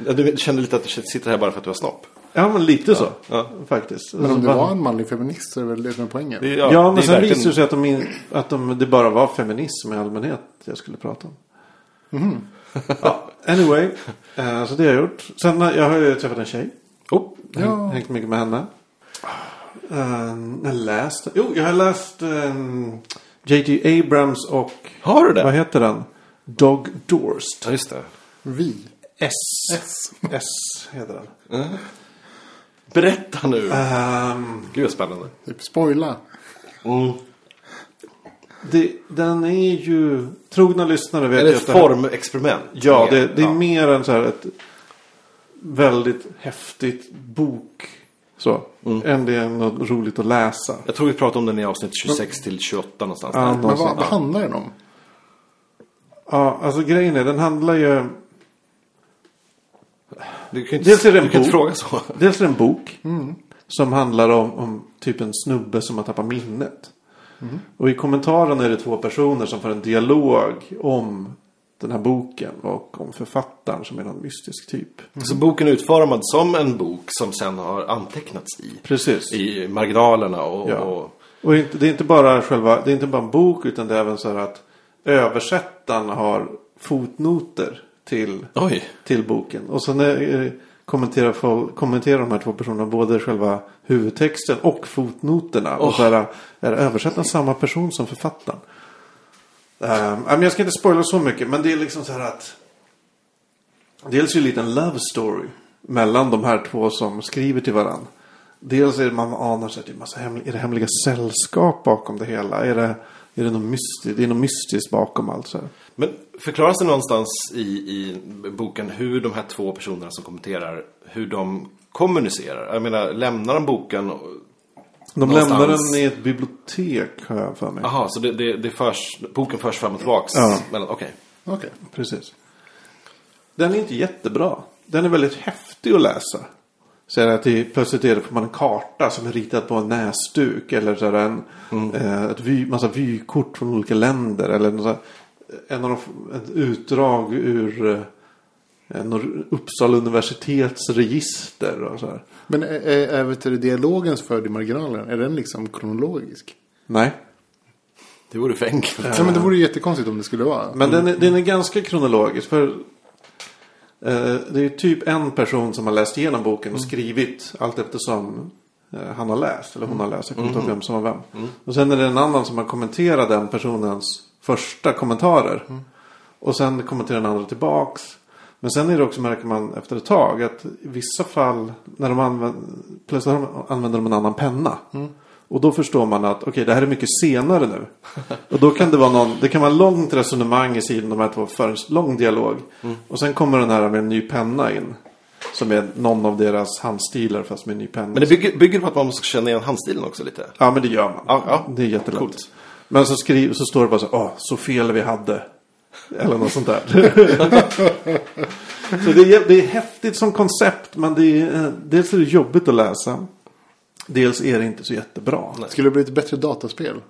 Ja, du kände lite att du sitter här bara för att du har snopp.
ja men lite så,
ja.
faktiskt.
Men om
Alltså,
du
bara-
var en manlig feminist så är det väl det som är poängen.
Det är-
Ja,
det är
men sen
verkligen-
visade det sig att, de in, att de, det bara var feminism i allmänhet jag skulle prata om.
Mhm.
ja, anyway, eh, så det har jag gjort. Sen har jag har ju träffat en tjej.
Oh,
Ja. Hängt mycket med henne. Eh, jag har läst, jo, jag har läst um, J.J. Abrams och,
har du
vad
det?
heter den? Dog Dorst.
Ja, just det.
Vi.
S. S. heter den.
Berätta nu.
Ehm, Mm.
Gud, vad spännande.
Typ spoila.
det, den är ju... Trogna lyssnare vet
Är
ju
det
att
ett
det här-
formexperiment?
Ja, det, det är
Ja.
mer än så här ett väldigt häftigt bok. Så. Än det är något roligt att läsa.
Jag tror vi pratade om den i avsnitt 26 till 28 någonstans.
Ja,
där.
Men
någonstans.
vad, vad handlar den om?
Ja, alltså grejen är, den handlar ju...
Du kan ju inte,
Dels är Mm. det en
du kan inte
bok.
fråga så.
Dels är det en bok. Som handlar om, om typ en snubbe som har tappat minnet. Och i kommentaren är det två personer som får en dialog om den här boken och om författaren som är någon mystisk typ.
Så boken är utformad som en bok som sen har antecknats i.
Precis.
I marginalerna och...
Ja.
och
Och inte, det är inte bara själva, det är inte bara en bok utan det är även så här att översättaren har fotnoter till,
Oj.
till boken. Och sen eh, kommenterar, folk, kommenterar de här två personerna både själva huvudtexten och fotnoterna. Och så här, är översättaren samma person som författaren? Ehm, nej, men jag ska inte spoila så mycket, men det är liksom så här att... Dels är det en liten love story mellan de här två som skriver till varandra. Dels är det, man anar sig att det är, massa hemlig, är det hemliga sällskap bakom det hela. Är det, är det, något, mystiskt, det är något mystiskt bakom allt så här.
Men förklaras det någonstans i, i boken hur de här två personerna som kommenterar, hur de kommunicerar? Jag menar, lämnar de boken? och-
De
Någonstans.
lämnar den i ett bibliotek har jag för mig.
Jaha, så det, det, det förs, boken förs fram och tillbaks?
Ja.
mellan- Okej.
Okej.
Precis. Den är inte jättebra. Den är väldigt häftig att läsa. Så är det att det, plötsligt är det, får man en karta som är ritad på en näsduk. Eller så är det en eh, ett vy, massa vykort från olika länder. Eller något så här, en av de, ett utdrag ur eh, en, or- Uppsala universitets register. Och så här.
Men är, är, är vet du, dialogens född i marginalen, är den liksom kronologisk?
Nej.
Det vore för enkelt.
Nej men det vore ju jättekonstigt om det skulle vara.
Men den, är, den är ganska kronologisk. För eh, det är typ en person som har läst igenom boken och skrivit allt eftersom eh, han har läst. Eller hon har läst. Jag kommer inte ihåg vem som var vem. Och sen är det en annan som har kommenterat den personens första kommentarer. Och sen kommenterar den andra tillbaks. Men sen är det också, märker man efter ett tag, att i vissa fall när de använder, plötsligt har de- använder de en annan penna.
Mm.
Och då förstår man att okej, det här är mycket senare nu. Och då kan det vara någon, det kan vara långt resonemang i sidan de här två för en lång dialog.
Mm.
Och sen kommer den här med en ny penna in. Som är någon av deras handstilar fast med en ny penna.
Men det bygger, bygger på att man måste känna igen handstilen också lite?
Ja, men det gör man.
Ja, ja.
Det är jättelätt.
Coolt.
Men så, skriv, så står det bara så här, "Åh, så fel vi hade. Eller något sånt där. så det är, det är häftigt som koncept, men det är, eh, dels är det jobbigt att läsa. Dels är det inte så jättebra.
Skulle det bli ett bättre dataspel?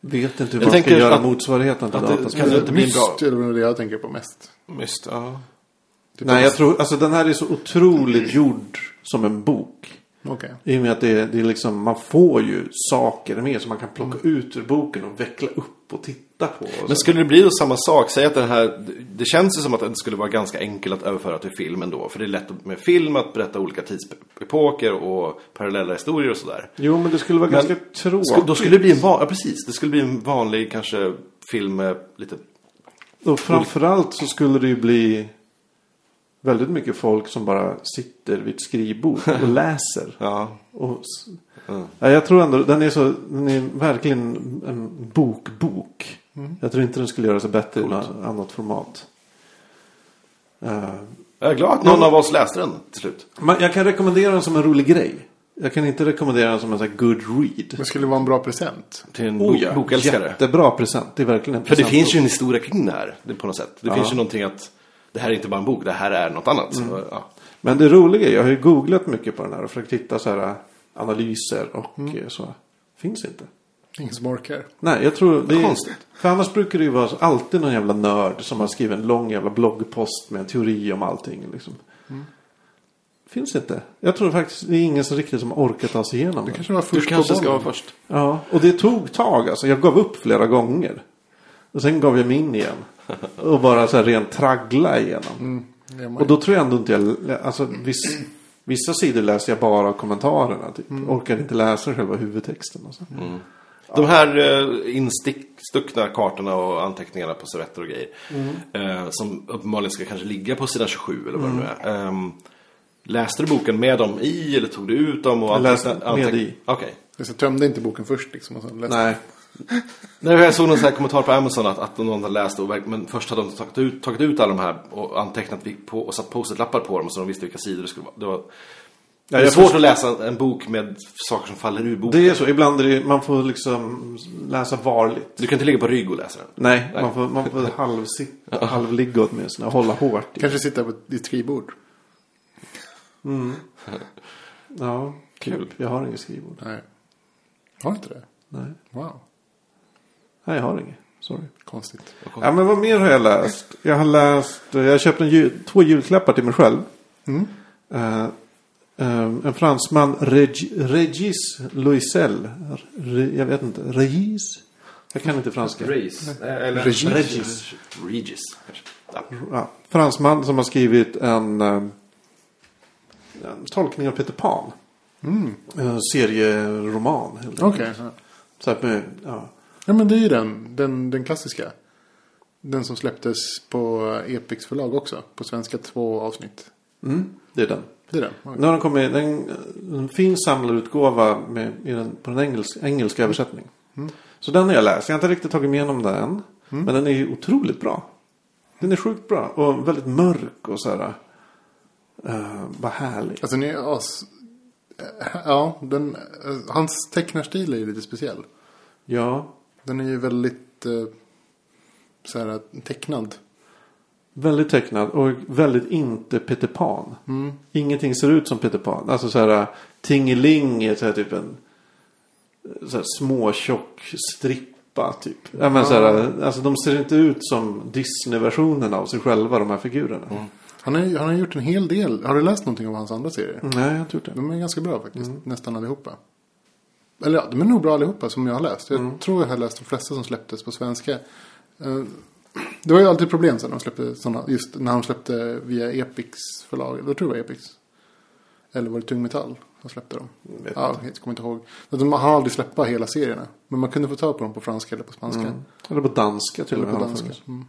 Vet inte hur man
Jag
ska
tänker
göra
att-
motsvarigheten till
att det-
dataspel.
Kan det inte bli en bra-
Myst är väl det jag tänker på mest.
Just ja.
Typ
Nej, jag tror, alltså den här är så otroligt
Mm.
gjord som en bok.
Okej.
I och med att det är, det är liksom, man får ju saker med som man kan plocka ut ur boken och veckla upp och titta på. Och
Mm. Men
så.
skulle det bli då samma sak? Säg att den här, det känns ju som att den skulle vara ganska enkel att överföra till film ändå. För det är lätt med film att berätta olika tidsepoker och parallella historier och sådär.
Jo, men det skulle vara
Men-
ganska tråkigt.
Sku- Då skulle det bli en van, ja, precis. Det skulle bli en vanlig kanske film med lite...
Och framförallt så skulle det ju bli väldigt mycket folk som bara sitter vid ett skrivbord och läser.
Ja.
Och... s- Ja, jag tror ändå, den är, så, den är verkligen en bokbok.
Mm.
Jag tror inte den skulle göra sig bättre i något annat format. Eh,
Jag är glad att någon av oss läste den till slut.
men jag kan rekommendera den som en rolig grej. Jag kan inte rekommendera den som en sån här good
Men
read.
skulle det vara en bra present?
Till en
Oh
bok,
ja,
bokälskare.
jättebra present. Det är verkligen en
För det
present.
finns ju en historia kring det här det, på något sätt. Det finns ju någonting att det här är inte bara en bok, det här är något annat. Så, ja.
Men det roliga, är, jag har ju googlat mycket på den här och försökt hitta så här äh, analyser och eh, så. Finns inte.
Ingen som orkar.
Nej, jag tror det är
Konstigt.
För annars brukar det ju vara så- alltid någon jävla nörd som har skrivit en lång jävla bloggpost med en teori om allting. Liksom. Finns inte. Jag tror faktiskt det är ingen som riktigt som har orkat ta sig igenom det.
Kanske var först
Du kanske
på
ska vara
bollen.
först.
Ja, och det tog tag alltså. Jag gav upp flera gånger. Och sen gav jag mig in igen. Och bara så här rent traggla igenom.
Ja, man-
Och då tror jag ändå inte jag, alltså viss, vissa sidor läser jag bara av kommentarerna typ. Orkar inte läsa själva huvudtexten och så.
De här eh, instuckna kartorna och anteckningarna på servetter och grejer.
Mm.
Eh, som uppenbarligen ska kanske ligga på sidan 27 eller vad det
Mm.
nu är. Ehm, läste du boken med dem i eller tog du ut dem? Och
Jag läste
anteckna-
med
anteck-
i.
Okej.
Jag tömde inte boken först liksom. Och så läste.
Nej.
Nej, Jag såg någon sån här kommentar på Amazon att, att någon hade läst och verk- men först hade de tagit ut, tagit ut alla de här och antecknat vi- på, och satt post-it-lappar på dem så de visste vilka sidor det skulle vara. Det, var, det är
jag
svårt
förstår-
att läsa en bok med saker som faller ur boken.
Det är så, ibland är det, man får liksom läsa varligt.
Du kan inte ligga på rygg och läsa den.
Nej, man får, man får halvsitta, halvligga åtminstone och hålla hårt. I.
Kanske sitta på ett- i ett skrivbord.
Ja,
Kul.
Jag har inget skrivbord.
Nej. Har du inte det?
Nej,
Wow.
Nej jag har inget. Sorry.
Konstigt.
Ja, men vad mer har jag läst? Jag har läst, eh, jag har köpt en jul, två julklappar till mig själv. Eh, eh, en fransman, Reg, Regis Loisel. Re, jag vet inte, Regis? Jag kan inte franska.
Reis. eh, Eller,
Regis.
Regis. Regis. kanske. Ja.
Ja, fransman som har skrivit en, eh, en tolkning av Peter Pan. En serieroman. helt enkelt.
Okej.
Så att med, ja.
Ja men det är ju den, den, den klassiska. Den som släpptes på Epics förlag också. På svenska två avsnitt.
mm, det är den.
Det är den. okej.
Nu har den kommit en, en fin samlad utgåva med, i den, på den engels, engelska översättning. Så den har jag läst. Jag har inte riktigt tagit mig igenom den än. Men den är ju otroligt bra. Den är sjukt bra. Och väldigt mörk och så här. eh, vad härlig.
Alltså ni är as... Ja, den, eh, hans tecknarstil är ju lite speciell.
Ja.
Den är ju väldigt eh, så här, tecknad.
Väldigt tecknad och väldigt inte Peter Pan.
Mm.
Ingenting ser ut som Peter Pan. Alltså så här Tingeling är så här typ en äh, så här småtjock strippa typ. Ja, men så här, alltså de ser inte ut som Disney-versionen av sig själva de här figurerna.
Mm. Han har, ju- han har gjort en hel del. Har du läst någonting av hans andra serier?
Nej, jag har inte gjort det.
De är ganska bra faktiskt.
Mm.
Nästan allihopa. Eller ja, de är nog bra allihopa som jag har läst. Jag
Mm.
tror jag har läst de flesta som släpptes på svenska. Eh, Det var ju alltid problem sen de släppte sådana. Just när de släppte via Epics förlag. Jag tror det var Epics. Eller var det Tung Metall som släppte dem?
vet
Ja, jag kommer inte ihåg. Men Man har aldrig släppa hela serierna. Men man kunde få tag på dem på franska eller på spanska.
Eller på danska Mm. till och
Eller
med.
på
har de
danska.
funnits.
Mm.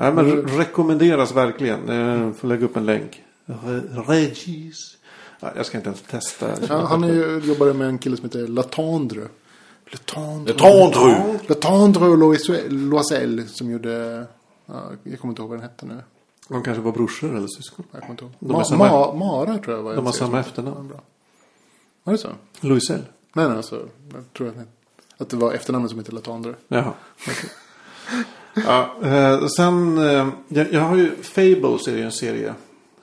Nej, men re- rekommenderas verkligen. Eh, Jag får lägga upp en länk. Re- Regis. Ja, jag ska inte ens testa.
Ja, han är ju, jobbade med en kille som heter Latendre. Latendre.
Latendre.
Latendre och Loisel- Loisel som gjorde... Ja, jag kommer inte ihåg vad den hette nu.
De kanske var brorsor eller syskon.
Jag kommer inte ihåg.
har
Ma-
samma-
ma- Mara tror jag var en
De har
serie
samma
som-
efternamn.
Ja, Bra. Var det så?
Louiselle.
Nej, nej, alltså. Jag tror att, ni- att det var efternamnet som hette Latendre.
Jaha. ja, eh, sen, eh, jag, jag har ju Fables är ju en serie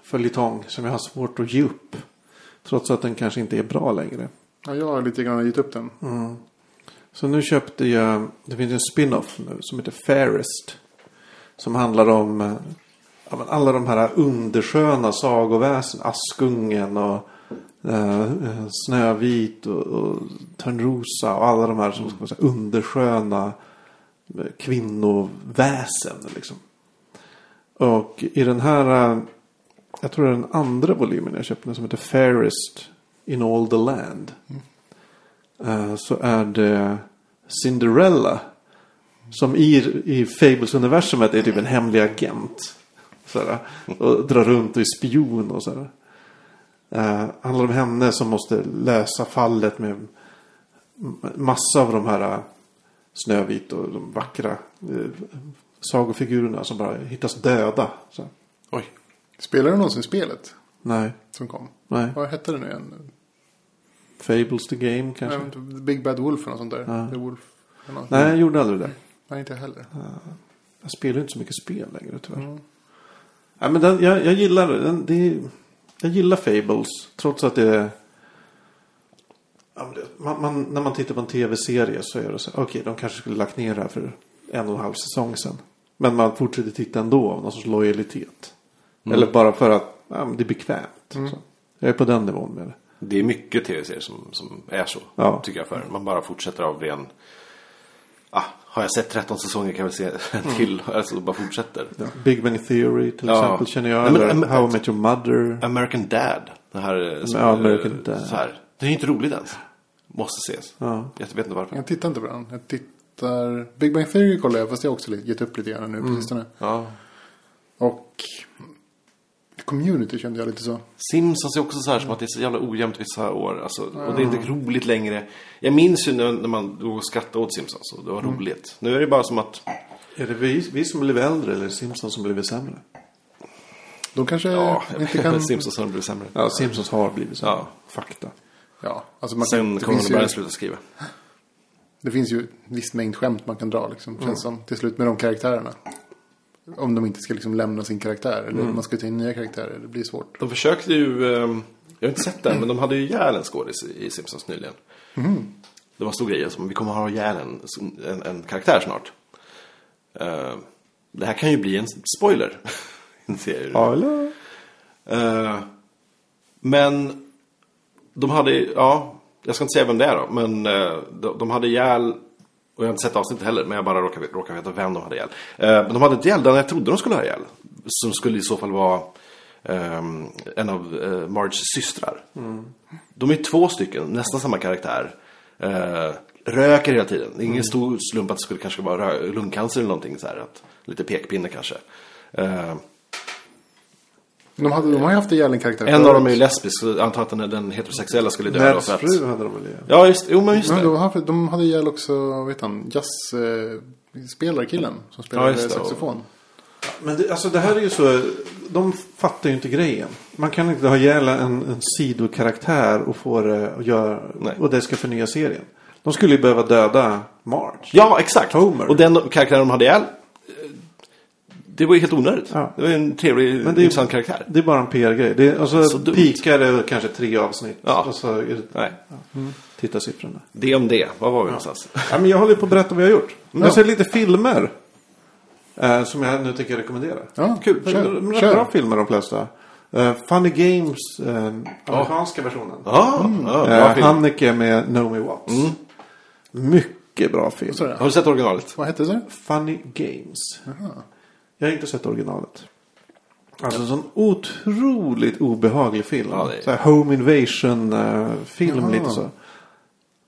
följetong som jag har svårt att ge upp. Trots att den kanske inte är bra längre.
Ja, jag har lite grann gett upp den.
Mm. Så nu köpte jag, det finns en spin-off nu som heter Fairest. Som handlar om eh, ja, men alla de här undersköna sagoväsen. Askungen och eh, eh, Snövit och, och Törnrosa och alla de här som ska vara så här undersköna eh, kvinnoväsen. Liksom. Och i den här, eh, jag tror det är den andra volymen jag köpte den som heter Fairest in all the land. Eh, så är det Cinderella. Som i, i Fables-universumet är typ en hemlig agent. Sådär, och drar runt och är spion och sådär. Eh, handlar om henne som måste lösa fallet med m- massa av de här eh, Snövit och de vackra eh, sagofigurerna som bara hittas döda. Så.
Oj.
Spelade du någonsin spelet
Nej,
som kom?
nej.
Vad hette det nu igen?
Fables the Game
Jag
kanske.
vet inte, Big Bad Wolf eller något sånt där.
Ja.
The Wolf. eller något.
Nej, jag gjorde aldrig det.
Nej, inte jag heller.
Jag spelar ju inte så mycket spel längre tyvärr.
Mm.
Ja, men den, jag, jag gillar den. Det, är- jag gillar Fables. Trots att det är... Ja, men det- Man, man, när man tittar på en tv-serie så är det så här, Okej, de kanske skulle lagt ner det här för en och en halv säsong sedan. Men man fortsätter titta ändå av någon sorts lojalitet.
Mm.
Eller bara för att ja, men det är bekvämt. Så. Jag är på den nivån med det.
Det är mycket tv-serier som, som är så.
Ja.
Tycker jag för. Man bara fortsätter av ren... Ah, har jag sett 13 säsonger kan jag väl se en till.
Mm.
Alltså bara fortsätter.
Big Bang Theory till
Ja.
exempel känner jag.
Ja, men-
Eller
men-
How I Met Your Mother.
American Dad. Den här... eh, Som,
Ja, American
eh,
Dad.
Så här. Den är ju inte rolig ens. Måste ses. Jag vet inte varför.
Jag tittar inte på den. Jag tittar... Big Bang Theory kollar jag, fast jag har också lite- gett upp lite grann nu på sistone.
Mm. Ja.
Och Community kände jag lite så.
Simpsons är också så här som att det är så jävla ojämnt vissa år. Alltså, Och det är inte roligt längre. Jag minns ju när, när man då skrattade åt Simpsons och det var
Mm.
roligt. Nu är det bara som att...
Är det vi, vi som blivit äldre eller Simpsons som blivit sämre?
De kanske
Ja,
inte kan...
Simpsons har blivit sämre.
Ja, Simpsons har blivit sämre.
Ja.
Fakta.
Ja, alltså man kan,
Sen
det,
kommer
finns
de börja
ju,
sluta skriva.
det finns ju en viss mängd skämt man kan dra liksom. Känns
Mm.
som till slut med de karaktärerna. Om de inte ska liksom lämna sin karaktär. Eller
Mm.
man ska ta in nya karaktärer. Det blir svårt.
De försökte ju, ehm, jag har inte sett den, men de hade ju ihjäl en skådis i i Simpsons nyligen. Det var en stor grej, som vi kommer att ha ihjäl en, en, en karaktär snart. Eh, det här kan ju bli en spoiler. Inser jag ju.
Hallå?
Eh, men de hade, ja, jag ska inte säga vem det är då, men eh, de, de hade ihjäl Och jag har inte sett avsnittet heller, men jag bara råkar, råkar veta vem de hade ihjäl. Eh, men de hade inte ihjäl den jag trodde de skulle ha ihjäl. Som skulle i så fall vara ehm, en av eh, Marges systrar. De är två stycken, nästan samma karaktär. Eh, röker hela tiden. Det är ingen stor slump att det skulle kanske vara rö- lungcancer eller någonting så här. Att, lite pekpinne kanske. Eh,
De, hade, de har ju haft ihjäl en karaktär
en av dem är ju
förut.
lesbisk, så jag antar att den, den heterosexuella skulle dö då.
Neds
För att,
fru Mm. hade de väl igen?
ja, just, jo, men just
Men
det.
de, hade, de hade ihjäl också, vad heter han, jazzspelarkillen som spelade
just det.
saxofon.
Men det, alltså det här är ju så. De fattar ju inte grejen. Man kan inte ha ihjäl en, en sidokaraktär och få det att göra.
Nej.
Och det ska förnya serien. De skulle ju behöva döda Marge.
Ja, exakt.
Homer.
Och den de- karaktären de hade ihjäl, eh, det var ju helt onödigt.
Ja.
Det var ju en trevlig,
Men det är-
intressant karaktär.
Det är bara en PR-grej. Det är, alltså,
Så dumt.
pikar det kanske tre avsnitt.
Ja.
Och så är det- Mm.
Nej,
titta siffrorna.
det om det. Var var vi någonstans?
Ja, men jag håller ju på att berätta vad jag har gjort. Men Jag ser lite filmer. Eh, som jag nu tänker rekommendera.
Ja,
Kul.
Kör,
Rätt
kör.
bra filmer de flesta. Eh, Funny Games, eh, amerikanska versionen.
Ja, ja, Ah, bra
Eh,
film.
Haneke med Naomi Watts.
Mm.
Mycket bra film.
Så där.
Har du sett originalet?
Vad hette det?
Funny Games. Jag har inte sett originalet. Alltså en sån otroligt obehaglig film.
Ja, det är-
Så här home invasion eh, film lite så.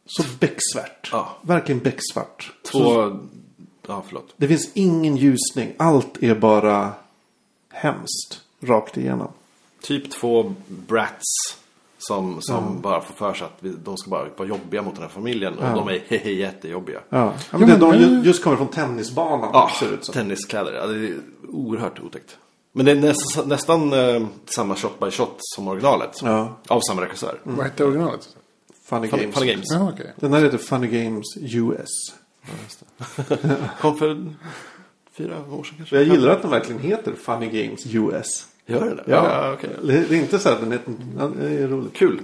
Så becksvart.
Ja.
Verkligen becksvart. Så
Två... Ja, förlåt.
det finns ingen ljusning. Allt är bara hemskt. Rakt igenom.
Typ två brats. Som, som bara får för sig att vi, de ska bara vara jobbiga mot den här familjen. Och de är hehe jättejobbiga.
Ja.
Ja,
men det,
men
de
nu-
ju- just kommer från tennisbanan.
Ja,
ser det ut som.
tenniskläder. Ja, det är oerhört otäckt. Men det är nästan, nästan eh, samma shot by shot som originalet.
Ja.
Av samma regissör.
Vad hette originalet?
Funny,
Funny,
Games.
Funny Games.
Ja, okej.
Den här heter Funny Games US.
Kom för fyra år sedan kanske.
Jag gillar att den verkligen heter Funny Games US.
Gör den det? okej.
Det det är inte så att den heter... ja, Det är roligt.
Kul.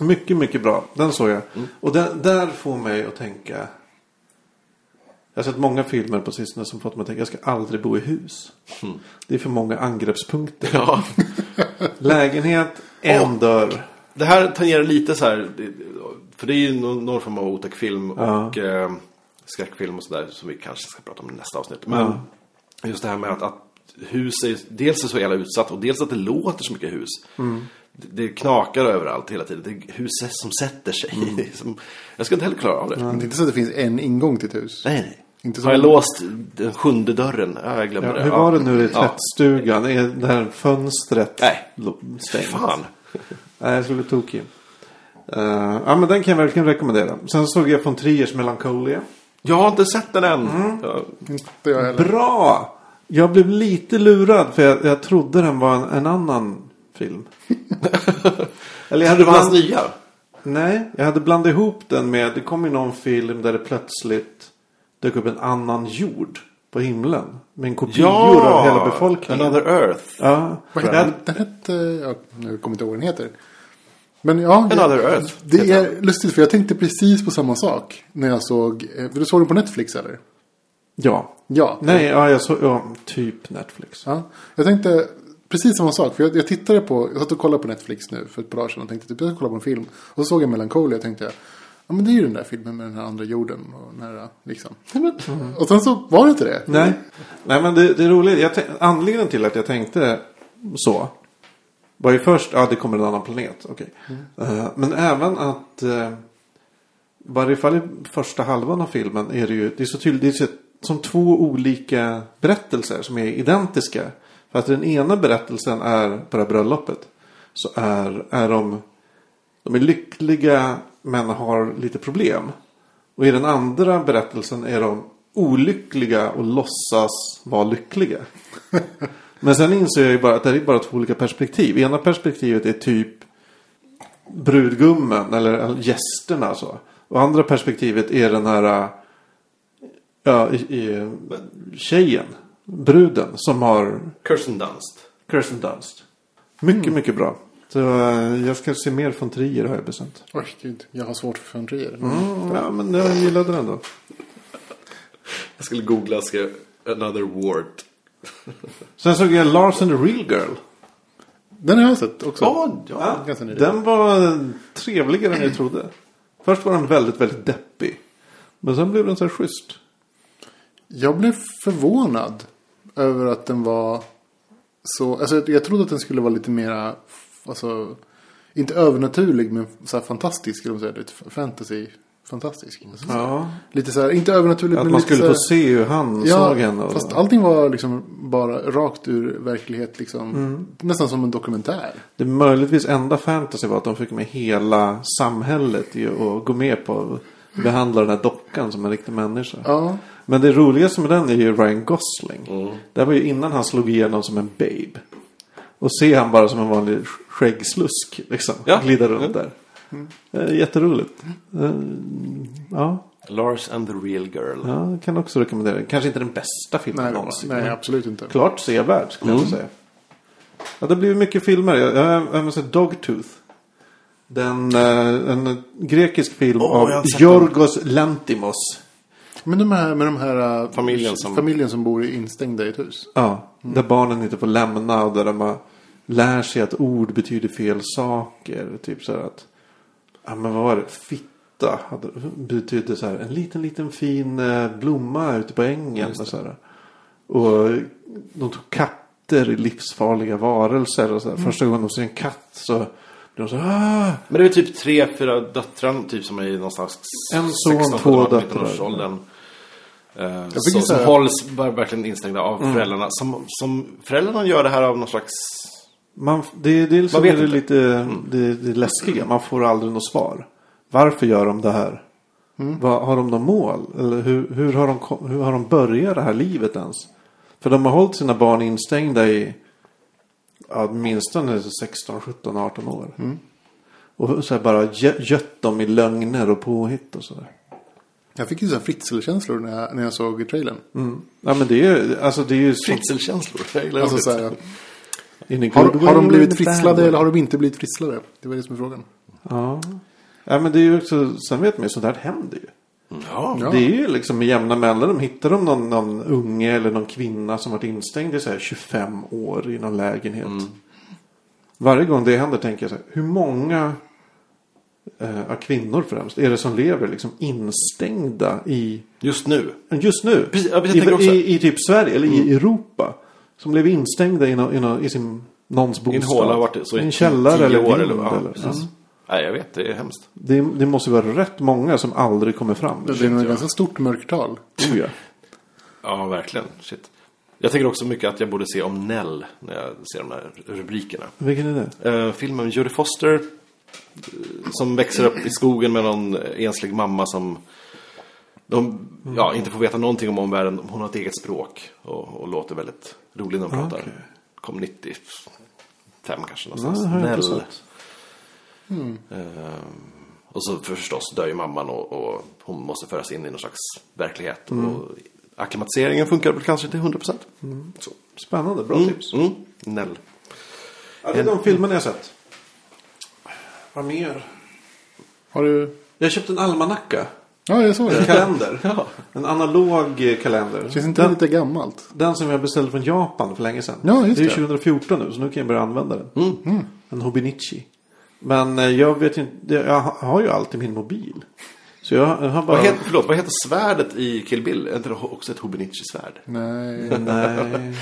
Mycket, mycket bra. Den såg jag. Och den, där får mig att tänka... Jag har sett många filmer på sistone som fått mig att tänka jag ska aldrig bo i hus. Det är för många angreppspunkter.
Ja.
Lägenhet, en
Åh.
dörr.
Det här tangerar lite så här. För det är ju någon någon form av otäck film och eh, skräckfilm och sådär. Som vi kanske ska prata om i nästa avsnitt. Men just det här med att, att hus är, dels är så jävla utsatt och dels att det låter så mycket hus.
Mm.
Det, det knakar överallt hela tiden. Det är hus som sätter sig. Det
Mm.
är som, jag ska inte heller klara av det.
Men det är inte så att det finns en ingång till ett hus.
Nej, nej.
Inte
Har jag
så-
låst den sjunde dörren? Ja, jag glömde
Ja,
det.
hur
Ja.
var det nu i
Ja.
tvättstugan? Är det här fönstret
Nej.
lo- stängt?
Fan.
Nej, jag skulle bli tokig. Eh, ja, men den kan jag verkligen rekommendera. Sen såg jag von Triers Melancholia.
Jag har inte sett den än.
Mm.
Ja.
Inte jag heller.
Bra! Jag blev lite lurad för jag, jag trodde den var en, en annan film. Eller jag hade
Det var hans
bland...
nya.
Nej, jag hade blandat ihop den med... Det kom ju någon film där det plötsligt dök upp en annan jord på himlen. Med en kopior av hela befolkningen.
Another Earth.
Ja,
Vad
jag
hette
hade
den? Den hette... Ja, nu kommer jag inte ihåg vad den heter. Men ja,
Another
jag,
Earth
det
heter
är lustigt för jag tänkte precis på samma sak när jag såg... eh, För du såg den på Netflix eller?
Ja.
Ja.
Nej, ja, jag såg ja, typ Netflix.
Ja, jag tänkte precis samma sak. För jag, jag tittade på, jag satt och kollade på Netflix nu för ett par dagar sedan och tänkte typ jag ska kolla på en film. Och så såg jag Melancholia och tänkte jag, ja men det är ju den där filmen med den här andra jorden och den här liksom. Och sen så var det inte det.
Nej. Nej, men det, det är roligt. Jag tän- anledningen till att jag tänkte så var ju först, ja det kommer en annan planet, okej.
Mm.
Eh, men även att, eh, varje fall i första halvan av filmen är det ju, det är så tydligt, det är så, som två olika berättelser som är identiska. För att den ena berättelsen är på det här bröllopet. Så är, är de De är lyckliga men har lite problem. Och i den andra berättelsen är de olyckliga och låtsas vara lyckliga. men sen inser jag ju bara att det här är bara två olika perspektiv. Ena perspektivet är typ brudgummen eller eller gästerna så. Och andra perspektivet är den här äh, ja, i, i, tjejen, bruden som har
Kirsten Dunst.
Kirsten Dunst. Mycket, mycket bra. Så eh, jag ska se mer från Trier har jag bestämt.
Oj, gud, jag har svårt för fönrier.
Ja, men jag gillade den då.
Jag skulle googla och skriva Another Wart.
Sen såg jag Lars and the Real Girl.
Den har jag sett också.
Ja, ja.
Ganska nyligen.
Den var trevligare än jag trodde. Först var den väldigt, väldigt deppig. Men sen blev den så här schysst.
Jag blev förvånad över att den var så... Alltså jag trodde att den skulle vara lite mera... Alltså, inte övernaturlig men så här fantastisk. Skulle man säga. Lite fantasy. Fantastisk. Alltså, så här-
Ja.
Lite så här, inte övernaturligt
Att
men
man
lite
skulle
så här,
få se hur han såg henne. Och,
fast allting var liksom bara rakt ur verklighet liksom.
Mm.
Nästan som en dokumentär.
Det möjligtvis enda fantasy var att de fick med hela samhället i att gå med på att behandla den här dockan som en riktig människa.
Ja. Mm.
Men det roligaste med den är ju Ryan Gosling. Det här var ju innan han slog igenom som en babe. Och se han bara som en vanlig sk- skäggslusk liksom.
Ja.
Glida runt där. Eh, Jätteroligt. Eh, Ja,
Lars and the real girl.
ja, jag kan också rekommendera. Kanske inte den bästa filmen
Nej,
någonsin.
nej absolut inte.
Klart sevärd skulle
Mm.
jag säga. Ja, det blir mycket filmer. Jag, jag, jag måste säga Dogtooth. Den, eh, en grekisk film
Åh, jag har
av
inte sett
Yorgos Lantimos.
Men de här, med de här äh,
Familjen som-
familjen som bor i instängda i ett hus.
Ja, där barnen inte får lämna och där de har, lär sig att ord betyder fel saker. Typ så här att, ja men vad var det, fitta hade, betydde så här en liten liten fin eh, blomma ute på ängen. Och, så här. och de tog katter i livsfarliga varelser. Och så här. Första gången de ser en katt så blir de så här, ah!
Men det är väl typ tre, fyra döttrar typ, som är i någonstans
En son,
16,
två
17,
döttrar.
19-årsåldern. Eh,
fick
så,
ju så
som
här-
hålls bara verkligen instängda av
Mm.
föräldrarna. Som, som föräldrarna gör det här av någon slags...
Man, det, det är liksom
vet
det, är
inte.
lite
Mm.
det, det är läskiga. Man får aldrig något svar. Varför gör de det här?
Mm.
Vad, har de något mål? Eller hur, hur, har de, kom- hur har de börjat det här livet ens? För de har hållit sina barn instängda i ja, åtminstone 16, 17, 18 år.
Mm.
Och så här bara gö- gött dem i lögner och påhitt och sådär.
Jag fick ju så här fritzelkänslor när jag, när jag såg trailern.
Ja men det är ju, alltså det är ju så,
Fritzelkänslor. Jag gillar
Alltså
ordet.
så här,
in i
har,
good
har de
way,
blivit
in a bad
fritslade
way.
eller har de inte blivit fritslade? Det var det som är frågan.
Ja. ja men det är ju också, sen vet man ju sådär händer ju.
Mm. Ja.
Ja.
Det är ju liksom med jämna mellanrum. Hittar de någon, någon unge eller någon kvinna som varit instängd i så här 25 år i någon lägenhet.
Mm.
Varje gång det händer tänker jag så här. Hur många eh, av kvinnor främst är det som lever liksom instängda i
Just nu.
just nu?
Precis, ja, men jag
I,
tänker också- Mm.
i, I typ Sverige eller i Europa. Som lever instängda i, no, i, no, i sin någons
I
bostad.
en håla har varit det så
I
i
en källare
tio
eller
år.
vind,
Eller, ja,
eller, Mm.
precis. Nej, jag vet. Det är hemskt.
det, det måste vara rätt många som aldrig kommer fram. Oh
Det är nog ett ganska stort mörkertal.
tror jag.
Ja, verkligen. Shit. Jag tänker också mycket att jag borde se om Nell när jag ser de här rubrikerna.
Vilken är det?
Eh, filmen med Jodie Foster eh, som växer upp i skogen med någon enslig mamma som de, ja,
Mm.
inte får veta någonting om omvärlden. Hon har ett eget språk och, och låter väldigt rolig när hon pratar.
Okej.
Kom 95 kanske
Ja,
någonstans.
det har jag Mm. inte
Snäll. Eh,
sett.
Och så förstås dör ju mamman och, och hon måste föras in i någon slags verklighet.
Mm.
Och akklimatiseringen funkar väl kanske till 100%. Mm. Så.
Spännande, bra
Mm.
tips.
Mm. Nell.
Ja, det är de filmerna jag sett. Vad mer?
Har du...
Jag köpte en almanacka.
Ja, jag såg
En
det.
kalender. En analog eh, kalender.
Känns inte det
Den,
lite gammalt?
den som jag beställde från Japan för länge sedan.
Ja, just
det är ju
det. Mm.
2014 nu så nu kan jag börja använda den. Mm. En Hobinichi. Men eh, jag vet ju inte. Jag har ju allt i min mobil. Så jag har bara...
Vad heter, förlåt, vad heter svärdet i Kill Bill? Är inte det också ett Hobinichi-svärd?
Nej.
Nej.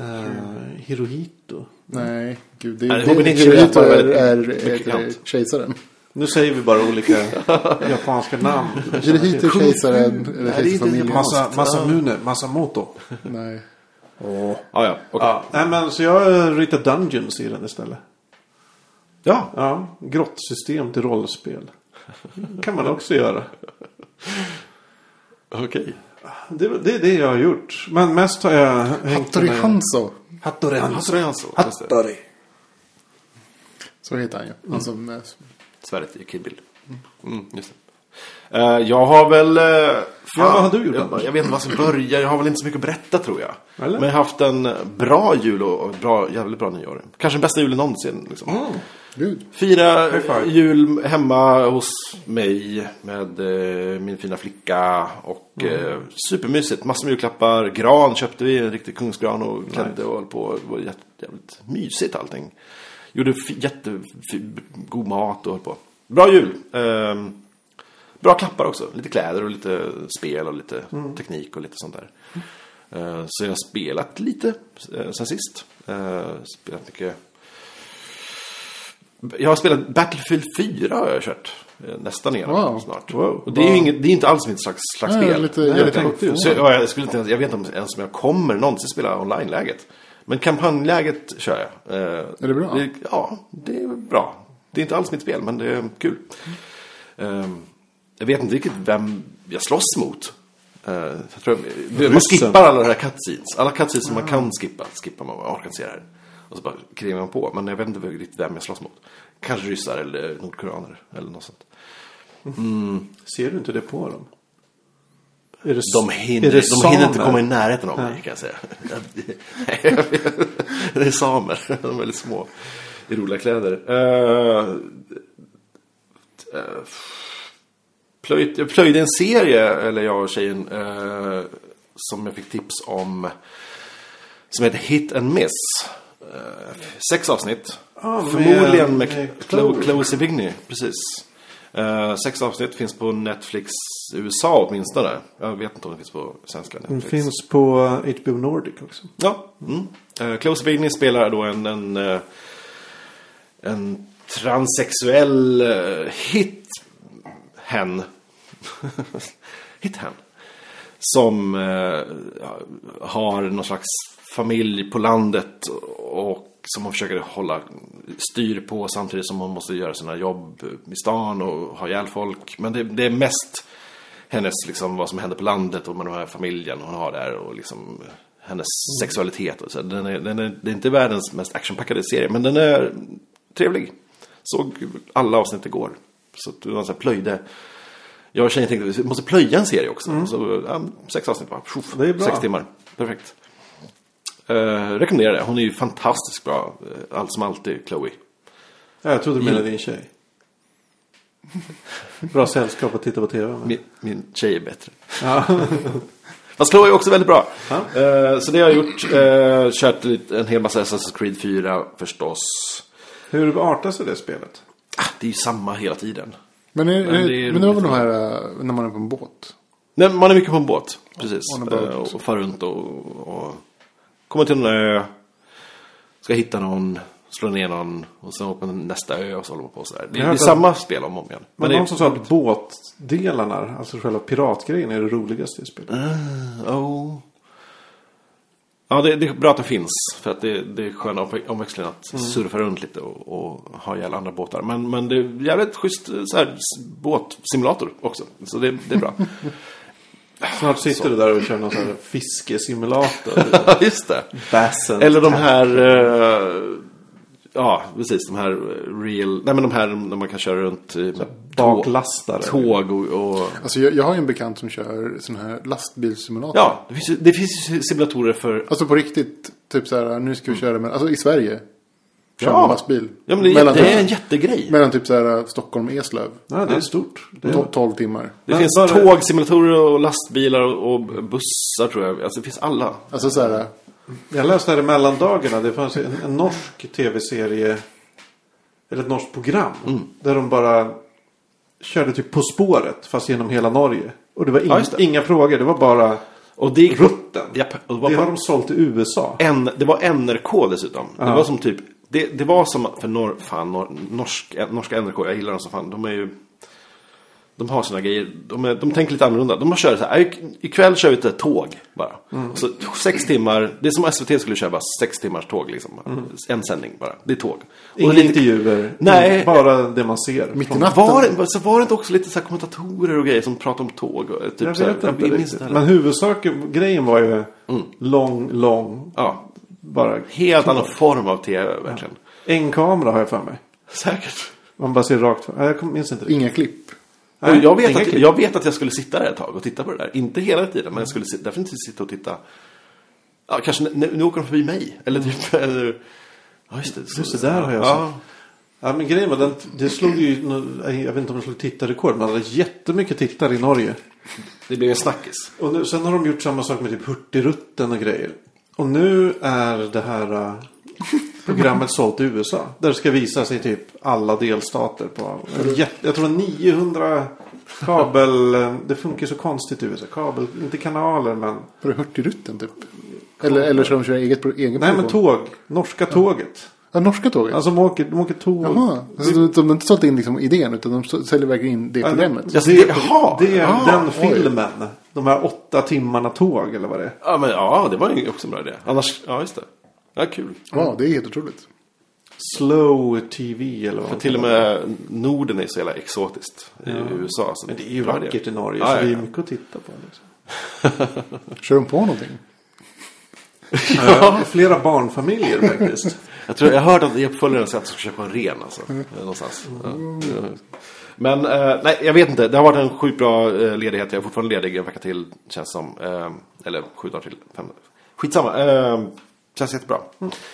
eh, Hirohito.
Nej. Gud, det,
Nej,
det, det,
Hobonichi
det,
lät
är,
väldigt-
är,
mycket
heter det,
kallt.
kejsaren.
Nu säger vi bara olika japanska namn.
Hirohito är kejsaren. Eller
Nej, det är inte
kejsarfamiljen.
Masa,
japanskt.
Masamune, Masamoto.
Nej.
Ah, ja, okej.
Ja, nej men så jag ritar Dungeons i den istället.
ja.
Ja, grottsystem till rollspel. kan man också göra.
okej.
Det, det är det jag har gjort. Men mest har jag hängt
Hattori
med-
Hanzo.
Hattori Hanzo.
Hattori Hanzo, just det.
Hattori.
Så heter han ju. Han som... eh,
Svärdet i Kill Bill. Mm, just det. Eh, jag har väl... eh, fan,
vad har du gjort,
Jag,
Anders?
jag vet inte vad som börjar. Jag har väl inte så mycket att berätta tror jag.
Eller?
Men jag har haft en bra jul och och bra, jävligt bra nyår. Kanske den bästa julen någonsin. Liksom.
Mm.
Gud.
Fira
five.
jul hemma hos mig med eh, min fina flicka. Och eh, supermysigt. Massor med julklappar. Gran köpte vi. En riktig kungsgran och klädde och höll på. Det var jätte, jävligt mysigt allting. Gjorde f- jättegod mat och höll på. Bra jul. Ehm, Bra klappar också. Lite kläder och lite spel och lite
Mm.
teknik och lite sånt där. Eh, Så jag har spelat lite eh, sen sist. Eh, Spelat mycket. Jag har spelat Battlefield 4 har jag kört. eh, Nästan igenom
Wow.
snart. Och det är ju inget, det är inte alls mitt slags, slags
Nej,
spel.
lite- jag
jag tänkte ju
Så jag, jag, skulle inte, ens- jag vet inte ens om jag kommer någonsin spela online-läget. Men kampanjläget kör jag. Eh,
Är det bra?
ja, det är bra. Det är inte alls mitt spel, men det är kul. Eh, jag vet inte riktigt vem jag slåss mot. Eh, jag tror jag, man
Ryssen.
skippar alla de här cutscenes. Alla cutscenes som man kan skippa, skippar man. Jag orkar inte se det här. Och så bara krigar man på. Men jag vet inte riktigt vem jag slåss mot. Kanske ryssar eller nordkoreaner eller något sånt.
Ser du inte det på dem? Är det,
De hinner,
är det
de hinner inte
samer?
komma i närheten av mig kan jag säga. det är samer, de är väldigt små. I roliga kläder. Eh, eh, plöjt, jag plöjde en serie, eller jag och tjejen, eh, som jag fick tips om. Som heter Hit and Miss. Eh, sex avsnitt.
Ja, med-
Förmodligen
med
med, Chloe,
Chloe.
Chloe Sevigny, precis. Eh, sex avsnitt finns på Netflix USA åtminstone. Jag vet inte om det finns på svenska
Den
Netflix.
Mm, finns på eh, HBO Nordic också.
Ja. Mm. Eh, Chloe Sevigny spelar då en, en, eh, en transsexuell eh, hit hen. hit hen. Som eh, har någon slags familj på landet och som hon försöker hålla styr på samtidigt som hon måste göra sina jobb i stan och ha ihjäl folk. Men det, det är mest hennes, liksom, vad som händer på landet och med den här familjen hon har där och liksom hennes sexualitet. Och så. Den är, den är, det är inte världens mest actionpackade serie, men den är trevlig. Såg alla avsnitt igår. Så att det var så här plöjde. Jag och tjejen tänkte att vi måste plöja en serie också. Så, ja, sex avsnitt bara. Tjoff,
Mm. Det är bra.
Sex timmar. Perfekt. Eh, rekommenderar det. Hon är ju fantastiskt bra. eh, Allt som alltid, Chloe.
Ja, jag trodde du menade din tjej. Bra sällskap att titta på tv med.
Min, min tjej är bättre.
Ja.
Fast Chloe är också väldigt bra.
Ja.
Eh, så det har jag gjort. Uh, kört lite, en hel massa Assassin's Creed 4 förstås.
Hur artar sig det spelet?
Ah, det är ju samma hela tiden.
Men, är, men,
det är
det, men det var väl
roligt.
de här eh, när man är på en båt?
Nej, man är mycket på en båt. Precis.
On a boat.
Eh, och far runt och, och kommer till en ö. Ska hitta någon. Slå ner någon. Och sen åker man till nästa ö och så håller man på sådär. Det,
Jag
det
har
är
hört
samma spel om och om igen.
Men
det är-
någon som sa att båtdelarna, alltså själva piratgrejen, är det roligaste i spelet.
Oh. Ja, det, det är bra att det finns. För att det, det är sköna omve- omväxlingen att surfa runt lite och, och ha ihjäl andra båtar. Men, men det är jävligt schysst eh, så här, s- båtsimulator också. Så det, det är bra.
Snart sitter du där och kör någon sån här fiskesimulator.
Just det.
Bassen.
Eller de här... eh, ja, precis. De här eh, real... Nej, men de här när man kan köra runt i med
baklastare.
Tåg och... och
Alltså jag, jag har ju en bekant som kör sån här lastbilssimulator.
ja, det finns, ju- det finns ju simulatorer för
Alltså på riktigt, typ så här, nu ska vi köra, men, alltså i Sverige. Kör
Mm. Ja.
man lastbil.
Ja, men det,
mellan,
det är en jättegrej.
mellan typ så här Stockholm och Eslöv.
Ja, det är stort. Det
To-
är...
12 timmar.
Det
Men
finns
bara-
tågsimulatorer och lastbilar och, och bussar tror jag. Alltså det finns alla.
Alltså så här,
Jag läste här i mellandagarna, det fanns en, en norsk tv-serie, eller ett norskt program,
Mm.
där de bara körde typ På spåret, fast genom hela Norge. Och det var ing-
Ja, just det.
inga frågor, det var bara
Och det gick...
rutten.
Japp, och det
det,
var
har
på...
de sålt i USA.
N... Det var NRK dessutom. Det var som typ... Det, det var som... För nor... fan, nor... Norsk... eh, norska NRK, jag gillar dem som fan. De är ju... De har sina grejer. De, är... de tänker lite annorlunda. De kör så här. "I- Ikväll kör vi ett tåg bara.
Mm.
Så sex timmar. Det är som SVT skulle köra bara sex timmars tåg liksom. En sändning bara. Det är tåg. Och
Mm. Inga
lite-
intervjuer, Mm.
Nej.
bara det man ser.
mitt i
från-
natten.
Var det, så var det inte också lite så här kommentatorer och grejer som pratade om tåg? Och, eh, typ
Jag
så här,
vet inte
minns
riktigt.
det här.
Men huvudsaken, grejen var ju
Mm.
lång, lång,
ja,
bara
helt annan form av tv verkligen.
en kamera har jag för mig.
Säkert.
Man bara ser rakt fram. Nej, Jag kom- minns inte riktigt.
Inga klipp.
Nej,
och jag, vet
inga
att,
klipp.
jag vet att jag skulle sitta där ett tag och titta på det där. Inte hela tiden, men jag skulle sit- definitivt sitta och titta. Ja, kanske nu, nu åker de förbi mig. Eller typ... Eller, ja, just det. Så,
Just det, där har jag
ja.
Ja, men grejen var den, det slog ju, nå- jag vet inte om det slog tittarrekord, men det hade jättemycket tittare i Norge.
Det blev en snackis.
Och nu, sen har de gjort samma sak med typ Hurtigruten och grejer. Och nu är det här eh, programmet sålt i USA. Där det ska visa sig typ alla delstater på, jätte- jag tror 900 Kabel, äh, det funkar så konstigt i USA. Kabel, inte kanaler men.
Var det Hurtigruten typ? Eller, eller så de kör eget, pro- egen
Nej men
produktion.
tåg, norska tåget.
Ja, norska tåget.
Alltså de åker, de åker tåg.
Jaha. Alltså, de, de har inte sålt in liksom, idén utan de så- säljer verkligen in det
Ja,
problemet.
Det,
Alltså, det- jaha.
det är
Ah,
den
oj.
filmen. De här åtta timmarna tåg eller vad det är.
Ja, men ja, det var ju också en bra idé. Annars, ja just det. Ja, kul.
Ja, det är helt otroligt.
Slow TV eller vad
För
man
till och
kallar
med Norden är så jävla exotiskt i USA. Så
Men det är ju
bra
vackert
idé.
i Norge.
Ja,
så
ja,
det är
ja.
mycket att titta på. Liksom.
Kör de på någonting?
Ja. Eh, Flera barnfamiljer faktiskt.
Jag, tror, jag hörde att i uppföljaren så att jag ska köpa en ren alltså. Någonstans. Ja. Men eh, nej, jag vet inte. Det har varit en sjukt bra eh, ledighet. Jag är fortfarande ledig en vecka till känns som. Eh, eller sju dagar till. Fem. Skitsamma. Eh, känns jättebra.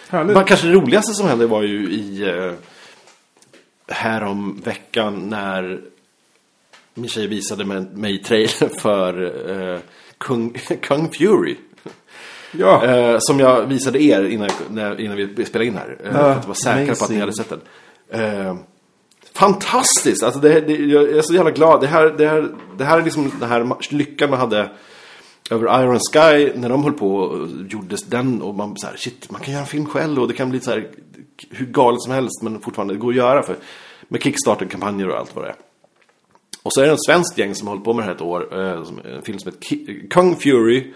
Härligt.
Men kanske det roligaste som hände var ju i eh, härom veckan när min tjej visade mig- mig trailern för eh, Kung, Kung Fury.
Ja.
Eh, som jag visade er innan, när, innan vi spelade in här. Eh, för att vara säkra på att
amazing.
ni hade sett den. Eh, fantastiskt! Alltså det, det, jag är så jävla glad. Det här, det, här, det här är liksom den här ma- lyckan man hade över Iron Sky när de höll på och gjordes den. Och man så här, shit, man kan göra en film själv och det kan bli så här hur galet som helst. Men fortfarande, det går att göra för, med Kickstarter-kampanjer och allt vad det är. Och så är det en svensk gäng som har hållit på med det här ett år. eh, som- En film som heter Ki- Kung Fury.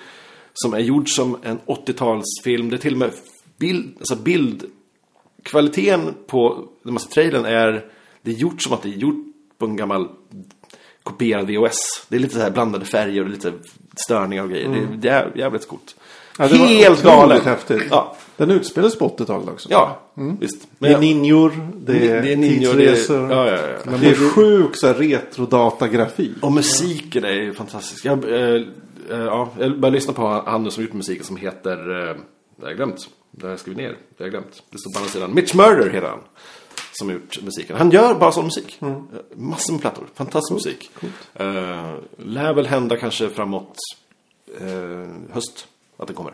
Som är gjord som en 80-talsfilm. Det är till och med bild, alltså bildkvaliteten på den massa trailern är... Det är gjort som att det är gjort på en gammal kopierad VHS. Det är lite så här blandade färger och lite störningar och grejer. Det, det är jävligt coolt.
Mm. Ja, det var
Helt
otroligt
galet!
häftigt.
Ja,
Den utspelas på 80-talet också.
ja visst.
Det är ninjor, det är,
Det är ninjor, det är-
tidsresor.
ja, ja, ja.
Det är sjuk så här, retrodatagrafik.
Och musiken är ju fantastisk. Jag, eh, eh, ja, jag började lyssna på han nu som gjort musiken som heter... Eh, jag har glömt. Det har jag skrivit ner. Det har jag glömt. Det står på andra sidan. Mitch Murder heter han. Som har gjort musiken. Han gör bara sån musik. Eh, Massor med plattor. Fantastisk musik. Eh, lär väl hända kanske framåt eh, höst. Att det kommer.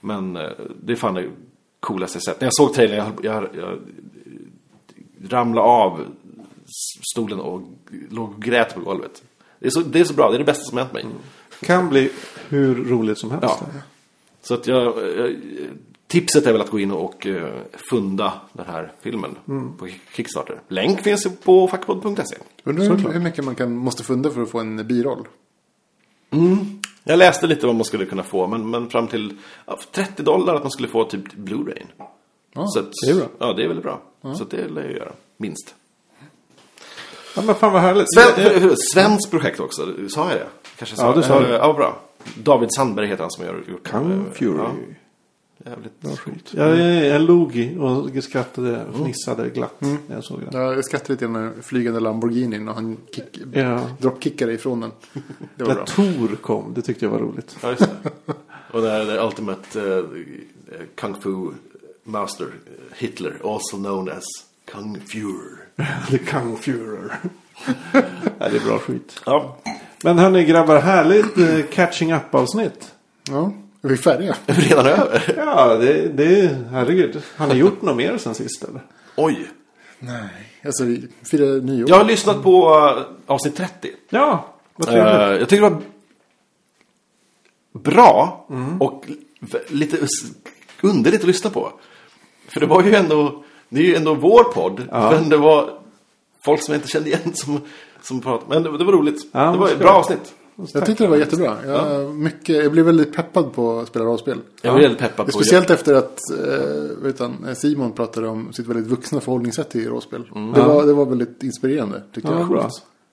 Men eh, det är fan det coolaste jag sett. När jag såg trailern, jag, höll- jag, jag ramlade av s- stolen och låg och grät på golvet. Det är så, det är så bra, det är det bästa som hänt mig.
Kan bli hur roligt som helst.
Ja. Så att jag, eh, tipset är väl att gå in och eh, funda den här filmen på Kickstarter. Länk finns ju på fackpodd.se.
Undrar hur, hur mycket man kan, måste funda för att få en biroll.
Jag läste lite vad man skulle kunna få, men, men fram till ja, 30 dollar att man skulle få typ Blu-ray.
Ja,
så att,
det är bra.
Ja, det är väldigt bra. Så att det lär jag göra, minst. Eh,
Ja, men fan vad härligt.
Sven, Svenskt projekt också, sa jag det? Kanske jag
Ja, du sa
Eh,
det.
Ja, bra. David Sandberg heter han som gör
Kung
eh,
Fury.
Ja, jävligt sjukt. Mm.
Jag, jag, jag log i och skrattade och fnissade glatt när jag såg den.
Ja, Jag skrattade lite när den flygande Lamborghinin och han kick,
Ja.
droppkickade ifrån den. Det var
När
bra.
Tor kom, det tyckte jag var roligt.
Ja, just det. Och det här är Ultimate eh, eh, Kung Fu Master eh, Hitler, also known as Kung Fury.
The Kung Führer. ja, det är bra skit.
Ja,
Men hörni grabbar, härligt eh, catching up-avsnitt.
Ja, är vi färdiga?
redan över.
Ja, det, det herregud. Har ni gjort något mer sen sist eller?
Oj.
Nej. Alltså, vi firar nyår.
Jag har lyssnat på eh, avsnitt 30.
Ja, vad
Eh,
trevligt.
jag tycker det var bra och v- lite us- underligt att lyssna på. För det var ju ändå, det är ju ändå vår podd. Men det var folk som jag inte kände igen som, som pratade. Men det, det var roligt.
Ja,
det var
ska
ett bra
vi.
avsnitt.
Jag tyckte det var jättebra. Jag, mycket, jag blev väldigt peppad på att spela rollspel.
Jag blev väldigt peppad på
Speciellt efter att eh, utan, Simon pratade om sitt väldigt vuxna förhållningssätt till rollspel.
Mm.
Det, var, det var väldigt inspirerande tyckte
Ja,
jag.
bra.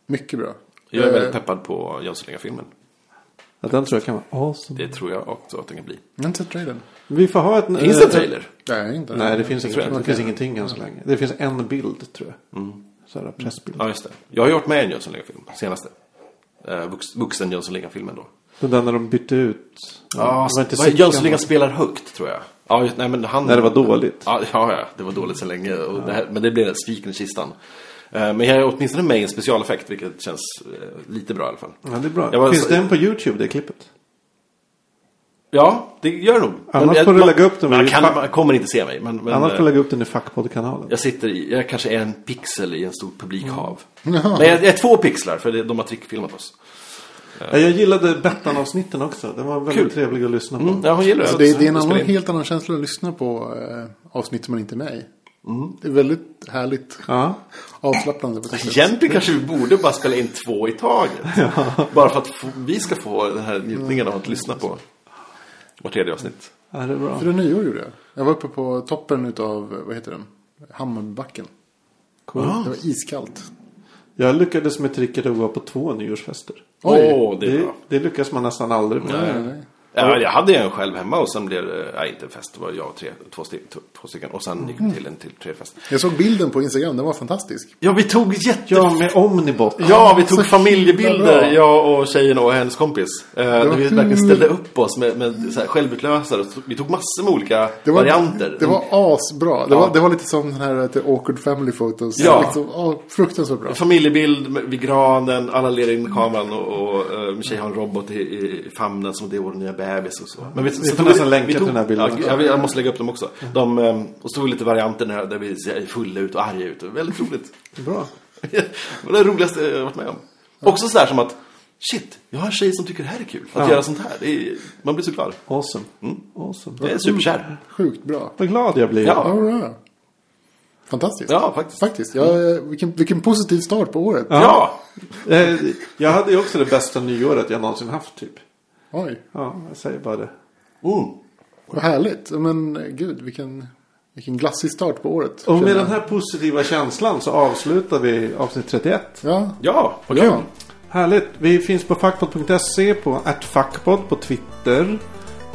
Mycket bra.
Jag är
Eh,
väldigt peppad på Jönssonliga-filmen.
Ja, den tror jag kan vara awesome.
Det tror jag också att den kan bli.
Jag har inte sett trailern.
Vi får ha ett... Eh,
Finns det en trailer?
Nej, inte.
Nej, det finns,
tror jag
inget, det
inte. Mm.
finns ingenting än så länge. Det finns en bild tror jag. Så här pressbild.
Ja, just det. Jag har ju varit med i en Jönssonliga-film, senaste. Eh, vux, vuxen Jönssonliga-filmen då.
Den där när de bytte ut.
Ja,
det var inte
vad-
Sickan,
Jönssonliga
va?
spelar högt tror jag. Ja, just, nej, men han,
När det var dåligt.
Ja, ja, ja, det var dåligt sedan länge. Och det här, men det blev spiken i kistan. Eh, Men jag är åtminstone med i en specialeffekt, vilket känns eh, lite bra i alla fall.
Ja, det är bra.
Jag var-
finns den på YouTube, det klippet?
Ja, det gör nog.
Annars
jag-
får du lägga upp den
Man,
i
kan,
fack-
man kommer inte se mig. Men, men,
Annars får du
eh,
lägga upp den i fackpoddkanalen.
Jag sitter i, jag kanske är en pixel i en stor publikhav.
Mm.
Nej, jag, jag är två pixlar för det, de har trickfilmat oss.
Ja, Jag gillade Bettan-avsnitten också. Det var väldigt
Kul.
trevligt att lyssna på.
Mm, ja, hon gillar
Alltså det, det är en
Jag spelar
annan,
in.
helt annan känsla att lyssna på eh, avsnitt som man inte är med i.
Mm.
Det är väldigt härligt.
Ja.
Avslappnande på sitt sätt.
Egentligen kanske vi borde bara spela in två i taget. Bara för att få, vi ska få den här njutningen av att lyssna på vårt tredje avsnitt.
ja, det är bra.
För nyår gjorde jag. Jag var uppe på toppen utav, vad heter den? Hammarbybacken.
Cool.
Det var iskallt.
Jag lyckades med tricket att gå på två nyårsfester.
Åh,
Oj.
det är bra.
det lyckas man nästan aldrig med.
Nej, nej.
Ja, jag hade en själv hemma och sen blev det, nej inte en fest, det var jag och tre, två, sti- två, två stycken. Och sen gick vi
Mm.
till en till tre fest.
Jag såg bilden på Instagram, den var fantastisk.
Ja, vi tog jätte...
Ja, med Omnibot.
Ja, vi
så
tog
himla bra.
familjebilder, jag och tjejen och hennes kompis. Eh, där vi
hur-
verkligen ställde upp oss med, med så här självutlösare. Så Vi tog massor med olika
Det var,
varianter. Mm.
det var asbra. Det,
Ja.
var, det var lite som den här vet du, awkward family photos.
Ja.
Liksom, ja, fruktansvärt bra.
Familjebild med- vid granen, alla ler in med kameran och, och eh, min tjej har en robot i, i famnen som det är vår nya bebis och så. Men vi,
får nästan länka till den här bilden.
Ja, jag, jag måste lägga upp dem också. De, eh, och stod lite varianter där, där vi ser fulla ut och arga ut. Det var Väldigt roligt.
Bra.
det var det roligaste jag har varit med om. Också sådär som att Shit, jag har en tjej som tycker det här är kul. Att
Ja.
göra sånt här. Det är, man blir så glad.
Awesome. awesome.
Jag är superkär.
Sjukt bra.
Vad glad jag blir.
Ja.
Ja, bra. Fantastiskt.
Ja, faktiskt.
Faktiskt. Ja, eh, vilken, vilken positiv start på året.
Ja!
Eh, Jag hade ju också det bästa nyåret jag någonsin haft typ.
Oj,
Ja, jag säger bara det.
Mm.
vad härligt. Men eh, gud, vilken, vilken glassig start på året.
Och
känner
med
jag.
den här positiva känslan så avslutar vi avsnitt 31.
Ja,
Ja, vad kul.
ja.
Härligt. Vi finns på fackpodd.se, på @fackpodd på Twitter,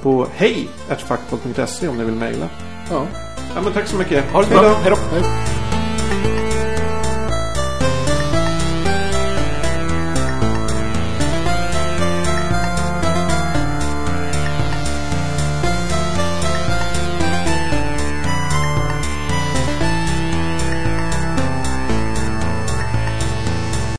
på hej@fackpodd.se om ni vill mejla.
ja.
Ja, men tack så mycket.
Ha det så
Hej
bra.
då.
Hej då.
Hej.